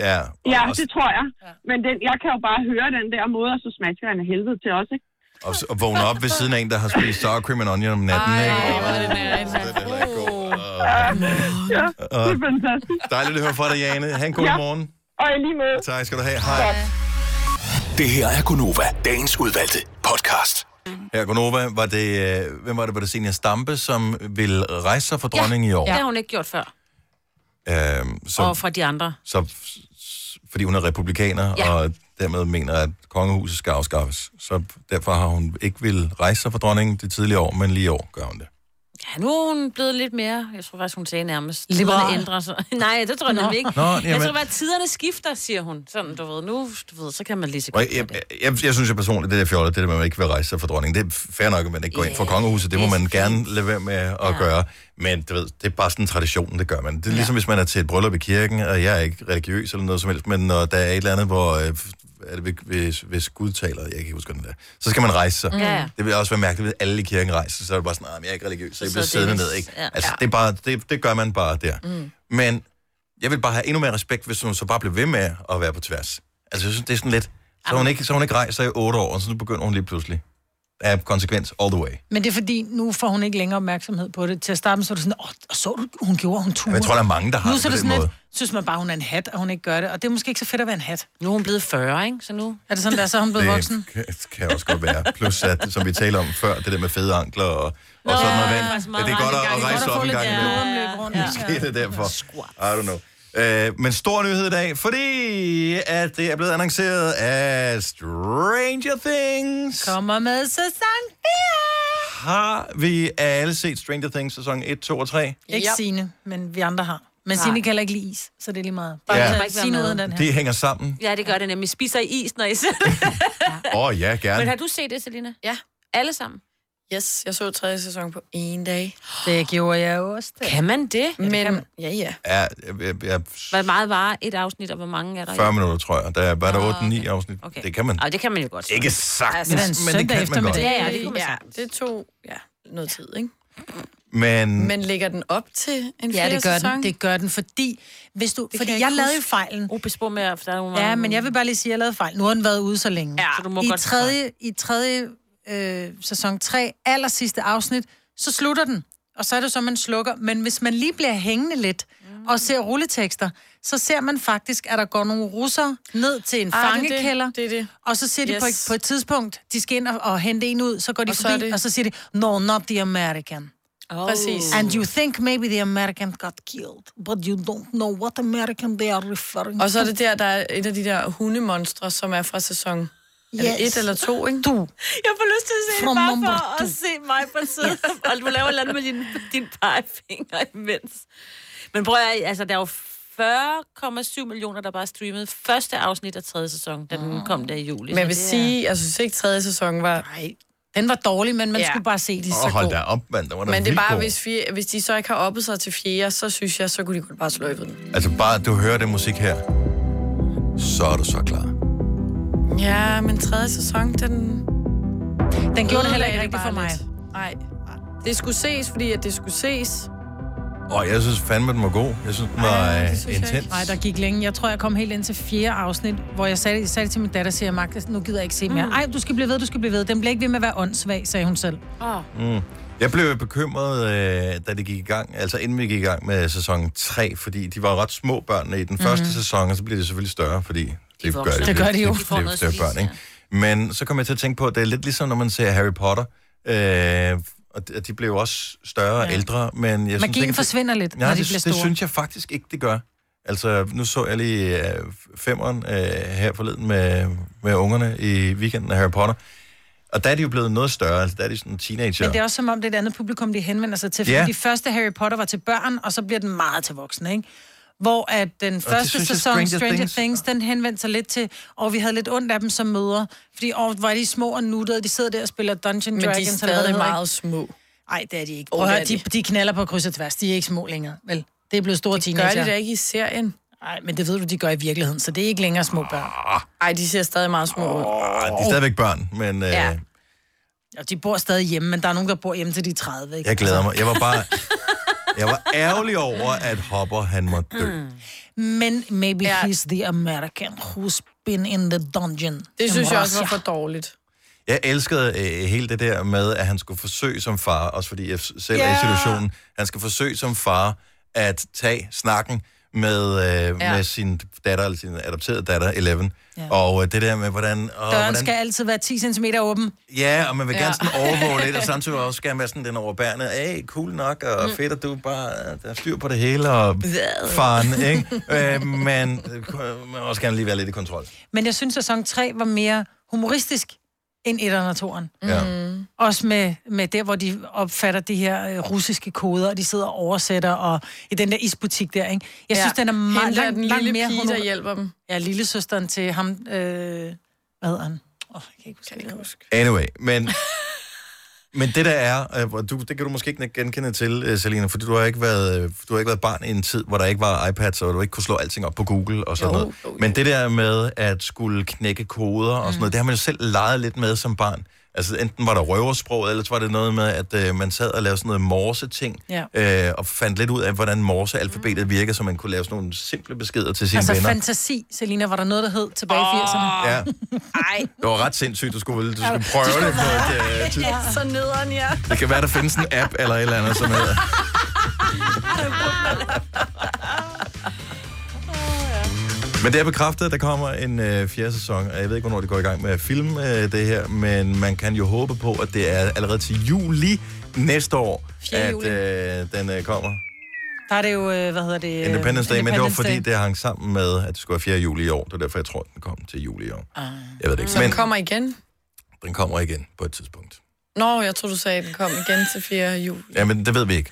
Ja. Ja, det tror jeg. Men den, jeg kan jo bare høre den der måde, og så smasker han af helvede til os, ikke? Og, s- og vågne op ved siden af en, der har spist sour cream and onion om natten. Ej, ikke? hvor er det nært. Ja, det Og er fantastisk. dejligt at høre fra dig, Jane. Ha' en god Ja. morgen. Og i lige måde. Tak skal du have. Hej. Det her er Gunova, dagens udvalgte podcast. Her, Gunova, var det, øh, hvem var det, var det Senior Stampe, som ville rejse sig for dronningen i år? Det har hun ikke gjort før. Øhm, så, Og fra de andre. så, s- fordi hun er republikaner, Ja. ja. og dermed mener, at kongehuset skal afskaffes. Så derfor har hun ikke vil rejse sig for dronningen de tidligere år, men lige i år gør hun det. Ja, nu er hun blevet lidt mere, jeg tror faktisk, hun sagde nærmest, Liberal. tiderne ændrer sig. Nej, det tror jeg Nå. nemlig ikke. Nå, jeg jamen. tror bare, at tiderne skifter, siger hun. Sådan, du ved, nu, du ved, så kan man lige så Og jeg, jeg, jeg, jeg synes jo personligt, det der fjollet, det der med, at man ikke vil rejse sig for dronningen, det er fair nok, at man ikke går ind for kongehuset. Det må man gerne lade være med at gøre. Men du ved, det er bare sådan en tradition, det gør man. Det er ligesom, hvis man er til et bryllup i kirken, og jeg er ikke religiøs eller noget som helst, men når der er et eller andet, hvor... Øh, er det, ved- hvis, hvis Gud taler, jeg kan ikke huske, hvordan det er, så skal man rejse sig. Mm. Ja, ja. Det vil også være mærkeligt, hvis alle i kirken rejser, så er det bare sådan, at jeg er ikke religiøs, så jeg bliver sidder det siddende vist- ned, ikke? ja. Altså, Ja. det, er bare, det, det gør man bare der. Mm. Men jeg vil bare have endnu mere respekt, hvis hun så bare blev ved med at være på tværs. Altså, jeg synes, det er sådan lidt... Så har hun ikke, så har hun ikke rejst sig i otte år, og så nu begynder hun lige pludselig. Der er konsekvens all the way. Men det er fordi, nu får hun ikke længere opmærksomhed på det. Til at starte med, så er det sådan, åh, oh, så du, hun gjorde, hun turde. jeg tror, der er mange, der har nu det så på det den sådan, måde. At, synes man bare, hun er en hat, og hun ikke gør det. Og det er måske ikke så fedt at være en hat. Nu er hun blevet 40, ikke? Så nu... Er det sådan, der så er hun blevet voksen? Det kan, kan også godt være. Plus, at, som vi talte om før, det der med fede ankler og, Nå, og sådan det er noget vand. faktisk Ja, meget det er godt rart en at, gang. at Det er rejse godt at op en få gang lidt, imellem. ja, blodomløb rundt, ja. Måske er det derfor. I don't know. Øh, men stor nyhed i dag, fordi at det er blevet annonceret af Stranger Things. Kommer med sæson 4! Har vi alle set Stranger Things sæson 1, 2 og 3? Ikke Signe, men vi andre har. Men Nej. Signe kan heller ikke lide is, så det er lige meget. Bare Ja. ja. Signe ud af den her. Det hænger sammen. Ja, det gør det nemlig. Spiser I is, når I ser Åh oh, ja, gerne. Men har du set det, Selina? Ja. Alle sammen? Yes, jeg så tredje sæson på en dag. Det gjorde jeg også. Kan man det? Men, ja, ja. Ja, jeg, jeg, jeg, Hvor meget var et afsnit, og hvor mange er der? i? 40 minutter, tror jeg. Der er- var der 8-9 afsnit. Okay. Det kan man. Ej, det kan man jo godt. Ikke sagtens, Altså, men det kan man godt. Ja, Ja, ja, det kunne man sagtens. det tog ja, noget tid, ikke? Men, Men ligger den op til en Ja, det gør sæson? den. Det gør den, fordi... Hvis du, kan fordi jeg jeg, ikke lavede jo huske. fejlen. Oh, bespor med, for der er nogle Ja, men jeg vil bare lige sige, at jeg lavede fejl. Nu har den været ude så længe. Ja, så du må I, godt- tredje, I tredje øh, sæson 3, aller sidste afsnit, så slutter den. Og så er det så, man slukker. Men hvis man lige bliver hængende lidt Mm. og ser rulletekster, så ser man faktisk, at der går nogle russere ned til en Ah, det er det. fangekælder. Det er det. Og så siger de yes. på, et, Yes. på et tidspunkt, de skal ind og, og hente en ud, så går de Og og så er forbi, det- og så siger de, no, not the American. Oh. Præcis. And you think maybe the American got killed, but you don't know what American they are referring Og så er to. det der, der er et af de der hundemonstre, som er fra sæson... Yes. Er det Yes. et eller to, ikke? Du. Jeg får lyst til at se From det bare number for at se mig på siden. og du laver et eller andet med din, din pegefinger imens. Men prøv at, altså, der er jo 40,7 millioner, der bare streamede første afsnit af tredje sæson, da den kom der i juli. Men jeg vil sige, altså- jeg synes ikke, tredje sæson var... Nej, den var dårlig, men man skulle bare se de Åh, hold da op, mand. Der var der Men det er vildt bare, god. hvis, vi, hvis de så ikke har oppet sig til fjerde, så synes jeg, så kunne de godt bare sløjfe den. Altså bare, at du hører den musik her, så er du så klar. Ja, men tredje sæson, den... Den gjorde det heller ødelagde ikke rigtigt for bare mig. lidt. Nej. Det skulle ses, fordi at det skulle ses. Og jeg synes fandme, den var god. Jeg synes, den var Ej, intens. Nej, der gik længe. Jeg tror, jeg kom helt ind til fjerde afsnit, hvor jeg sagde, jeg sagde det til min datter, siger Mark, nu gider jeg ikke se Mm. mere. Nej, du skal blive ved, du skal blive ved. Den bliver ikke ved med at være åndssvag, sagde hun selv. Oh. Mm. Jeg blev bekymret, øh, da det gik i gang, altså inden vi gik i gang med sæson 3, fordi de var ret små børnene i den første Mhm. sæson, og så bliver de selvfølgelig større, fordi det gør vokser. de, Det gør de jo. Det, De får noget at større spise, børn, ikke? Men så kom jeg til at tænke på, at det er lidt ligesom, når man ser Harry Potter, øh, og de- og de blev jo også større og Ja. ældre, men jeg synes Magien ikke, at det- forsvinder lidt, Nej, når de det, bliver det store. synes jeg faktisk ikke, det gør. Altså, nu så jeg lige øh, femmeren øh, her forleden med, med ungerne i weekenden af Harry Potter. Og der er de jo blevet noget større, altså der er de sådan teenager. Men det er også som om, det er et andet publikum, de henvender sig til. Fordi Ja. de første Harry Potter var til børn, og så bliver den meget til voksne, ikke? Hvor at den første synes jeg, sæson, Stranger Stranger, Stranger Things- Things, Things, den henvendte sig lidt til, og vi havde lidt ondt af dem som møder. Fordi åh, var de små og nuttede, de sidder der og spiller Dungeon Men de er Dragons. eller hvad stadig det hedder, meget små. Nej, det er de ikke. Åh, Prøv at det høre, er de, de knaller på kryds og tværs. De er ikke små længere, vel? Det er blevet store det teenager. Gør de da ikke i serien? Nej, men det ved du, de gør i virkeligheden, så det er ikke længere små børn. Ah. Ej, de ser stadig meget små ud. Ah, de er stadigvæk børn, men øh, ja. Ja. Og de bor stadig hjemme, men der er nogen, der bor hjemme til de er 30, ikke? Altså, jeg glæder mig. Jeg var bare... Jeg var ærgerlig over, at Hopper, han måtte dø. Mm. Men maybe ja. he's the American who's been in the dungeon. Det in synes jeg Russia. også var for dårligt. Jeg elskede øh, hele det der med, at han skulle forsøge som far, også fordi jeg s- selv yeah. er i Ja. situationen, han skal forsøge som far at tage snakken med, øh, Ja. med sin datter, eller sin adopterede datter, 11. Og øh, det der med, hvordan... Og, Døren hvordan skal altid være 10 cm åben. Ja, og man vil gerne Ja. sådan overvåge lidt, og samtidig også gerne være sådan den overbærende. Hey, cool nok, Mm. og fedt, at du bare øh, der er styr på det hele, og faren, ikke? Øh, men øh, man vil også gerne lige være lidt i kontrol. Men jeg synes, at sæson 3 var mere humoristisk end 1'eren og 2'eren. Ja. Mm. Også med, med der, hvor de opfatter de her øh, russiske koder, og de sidder og oversætter, og i den der isbutik der, ikke? Jeg Ja. synes, den er meget Hende der, den langt, langt lille mere pige, der hjælper dem. Ja, lillesøsteren til ham, øh, hvad hedder han? Åh, oh, jeg kan ikke huske. Kan ikke huske. Anyway, men... Men det der er, øh, hvor du, det kan du måske ikke genkende til, øh, Selina, fordi du har, ikke været, øh, du har ikke været barn i en tid, hvor der ikke var iPads, og du ikke kunne slå alting op på Google og sådan jo, noget. Jo, Men det der med at skulle knække koder og sådan mm. noget, det har man jo selv leget lidt med som barn. Altså enten var der røversprog, eller så var det noget med, at øh, man sad og lavede sådan noget morse-ting, Ja. øh, og fandt lidt ud af, hvordan morsealfabetet mm. virker, så man kunne lave sådan nogle simple beskeder til sine Altså venner. fantasi, Selina, var der noget, der hed tilbage i 80'erne? Ja. Det var ret sindssygt, du skulle, du skulle prøve det på et øh, tidspunkt. Så nederen, ja. Det kan være, der findes en app eller et eller andet, som hedder... Men det er bekræftet, at der kommer en øh, fjerde sæson, og jeg ved ikke, hvornår de går i gang med at filme øh, det her, men man kan jo håbe på, at det er allerede til juli næste år, Fjerde at juli. øh, den øh, kommer. Der er det jo, øh, hvad hedder det? øh, Independence Day, men det var Independence fordi, Day. det hang sammen med, at det skulle være 4. juli i år. Det er derfor, jeg tror, den kom til juli i år. Ah. Jeg ved det ikke, Så men den kommer igen? den kommer igen på et tidspunkt. Nå, jeg tror du sagde, at den kom igen til 4. jul. Ja, men det ved vi ikke.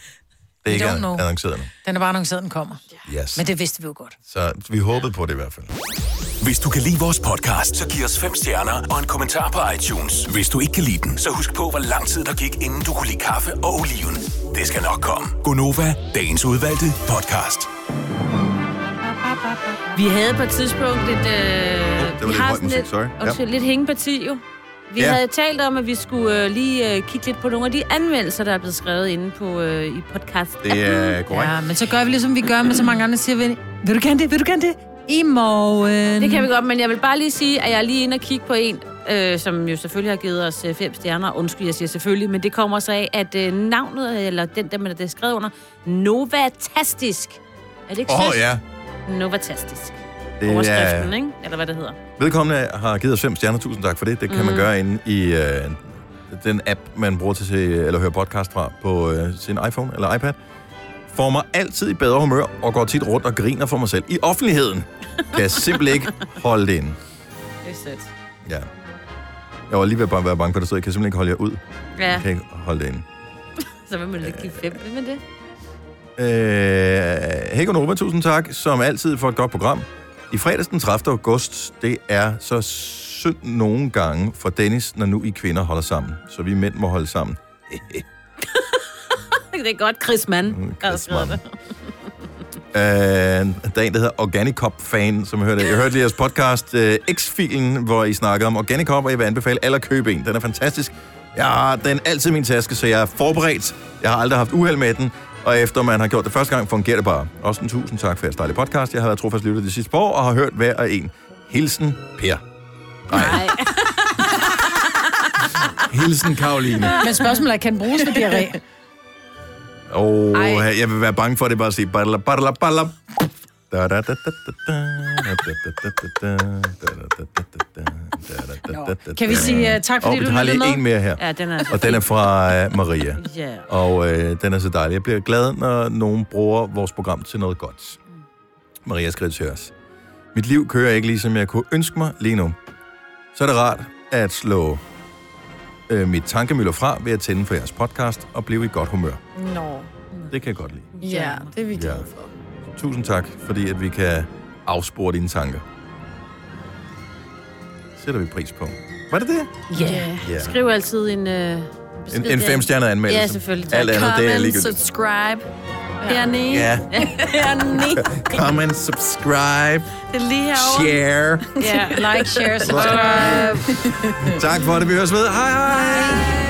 Det We er ikke don't an- know. annonceret nu. Den er bare annonceret, den kommer. Yes. Men det vidste vi jo godt. Så vi håbede på det i hvert fald. Hvis du kan lide vores podcast, så giv os fem stjerner og en kommentar på iTunes. Hvis du ikke kan lide den, så husk på, hvor lang tid der gik, inden du kunne lide kaffe og oliven. Det skal nok komme. Gonova, dagens udvalgte podcast. Vi havde på et tidspunkt et... Øh, vi lidt har høj sådan musik, lidt, sorry. Ja. Undskyld, lidt hængeparti jo. Vi Ja. ja. havde talt om, at vi skulle øh, lige øh, kigge lidt på nogle af de anmeldelser, der er blevet skrevet inde på øh, i podcast. Det er korrekt. Ja, men så gør vi ligesom vi gør med så mange andre, siger vi, vil du gerne det, vil du gerne det? I morgen. Det kan vi godt, men jeg vil bare lige sige, at jeg er lige inde og kigge på en, øh, som jo selvfølgelig har givet os øh, fem stjerner. Undskyld, jeg siger selvfølgelig, men det kommer så af, at øh, navnet, eller den, der man er skrevet under, Novatastisk. Er det ikke Åh, sødt? ja. Novatastisk. Det er- Overskriften, ikke? Eller hvad det hedder. Vedkommende har givet os fem stjerner. Tusind tak for det. Det kan mm. man Mhm. gøre inde i øh, den app, man bruger til at se, eller høre podcast fra på øh, sin iPhone eller iPad. Får mig altid i bedre humør og går tit rundt og griner for mig selv. I offentligheden kan jeg simpelthen ikke holde det inde. Det er sødt. Ja. Jeg var lige ved at bare være bange for, at der stod, jeg kan simpelthen ikke holde jer ud. Ja. Jeg kan ikke holde det inde. Så vil man lige give fem. Hvem er det? Øh, Hej Gunova, tusind tak, som altid for et godt program. I fredags den 30. august, det er så synd nogle gange for Dennis, når nu I kvinder holder sammen. Så vi mænd må holde sammen. Det er godt, Chris Mm, Mann. Chris Mann. Det. Øh, der er en, der hedder Organicop-fan, som jeg hørte. Jeg hørte lige jeres podcast øh, X-filen, hvor I snakker om Organicop, og jeg vil anbefale alle at købe en. Den er fantastisk. Jeg har den altid i min taske, så jeg er forberedt. Jeg har aldrig haft uheld med den, og efter man har gjort det første gang, fungerer det bare. Også en tusind tak for jeres dejlige podcast. Jeg har været trofast lyttet de sidste par år, og har hørt hver og en. Hilsen, Per. Nej. Hilsen, Karoline. Men spørgsmålet er, kan den bruges ved diarré? Åh, oh, jeg vil være bange for, at det bare at sige... Badala, badala, badala. Da, da, da, da, da, da, da, da, da, da, da, da, da, da, da, da, da, da, da, da, da. Kan vi sige, øh, tak, fordi Og du vi har lyttede lige med? en mere her. Ja, den er- Og den er fra øh, Maria. Ja. Og øh, den er så dejlig. Jeg bliver glad, når nogen bruger vores program til noget godt. Maria skriver til os. Mit liv kører ikke ligesom jeg kunne ønske mig lige nu. Så er det rart at slå øh, mit tankemøller fra ved at tænde for jeres podcast og blive i godt humør. Nå. Det kan jeg godt lide. Ja, det er vi glade for. Tusind tak, fordi at vi kan afspore dine tanker. Sætter vi pris på. Var det det? Ja. Ja. Yeah. Skriv altid en... Øh, En- en femstjernet anmeldelse. Ja, selvfølgelig. Alt andet, det er Comment, ligegyldigt. subscribe. Hernede. Ja. Hernede. Comment, subscribe, Det er lige herovre. share. Ja, like, share, subscribe. tak for det, vi høres ved. Hej hej! hej.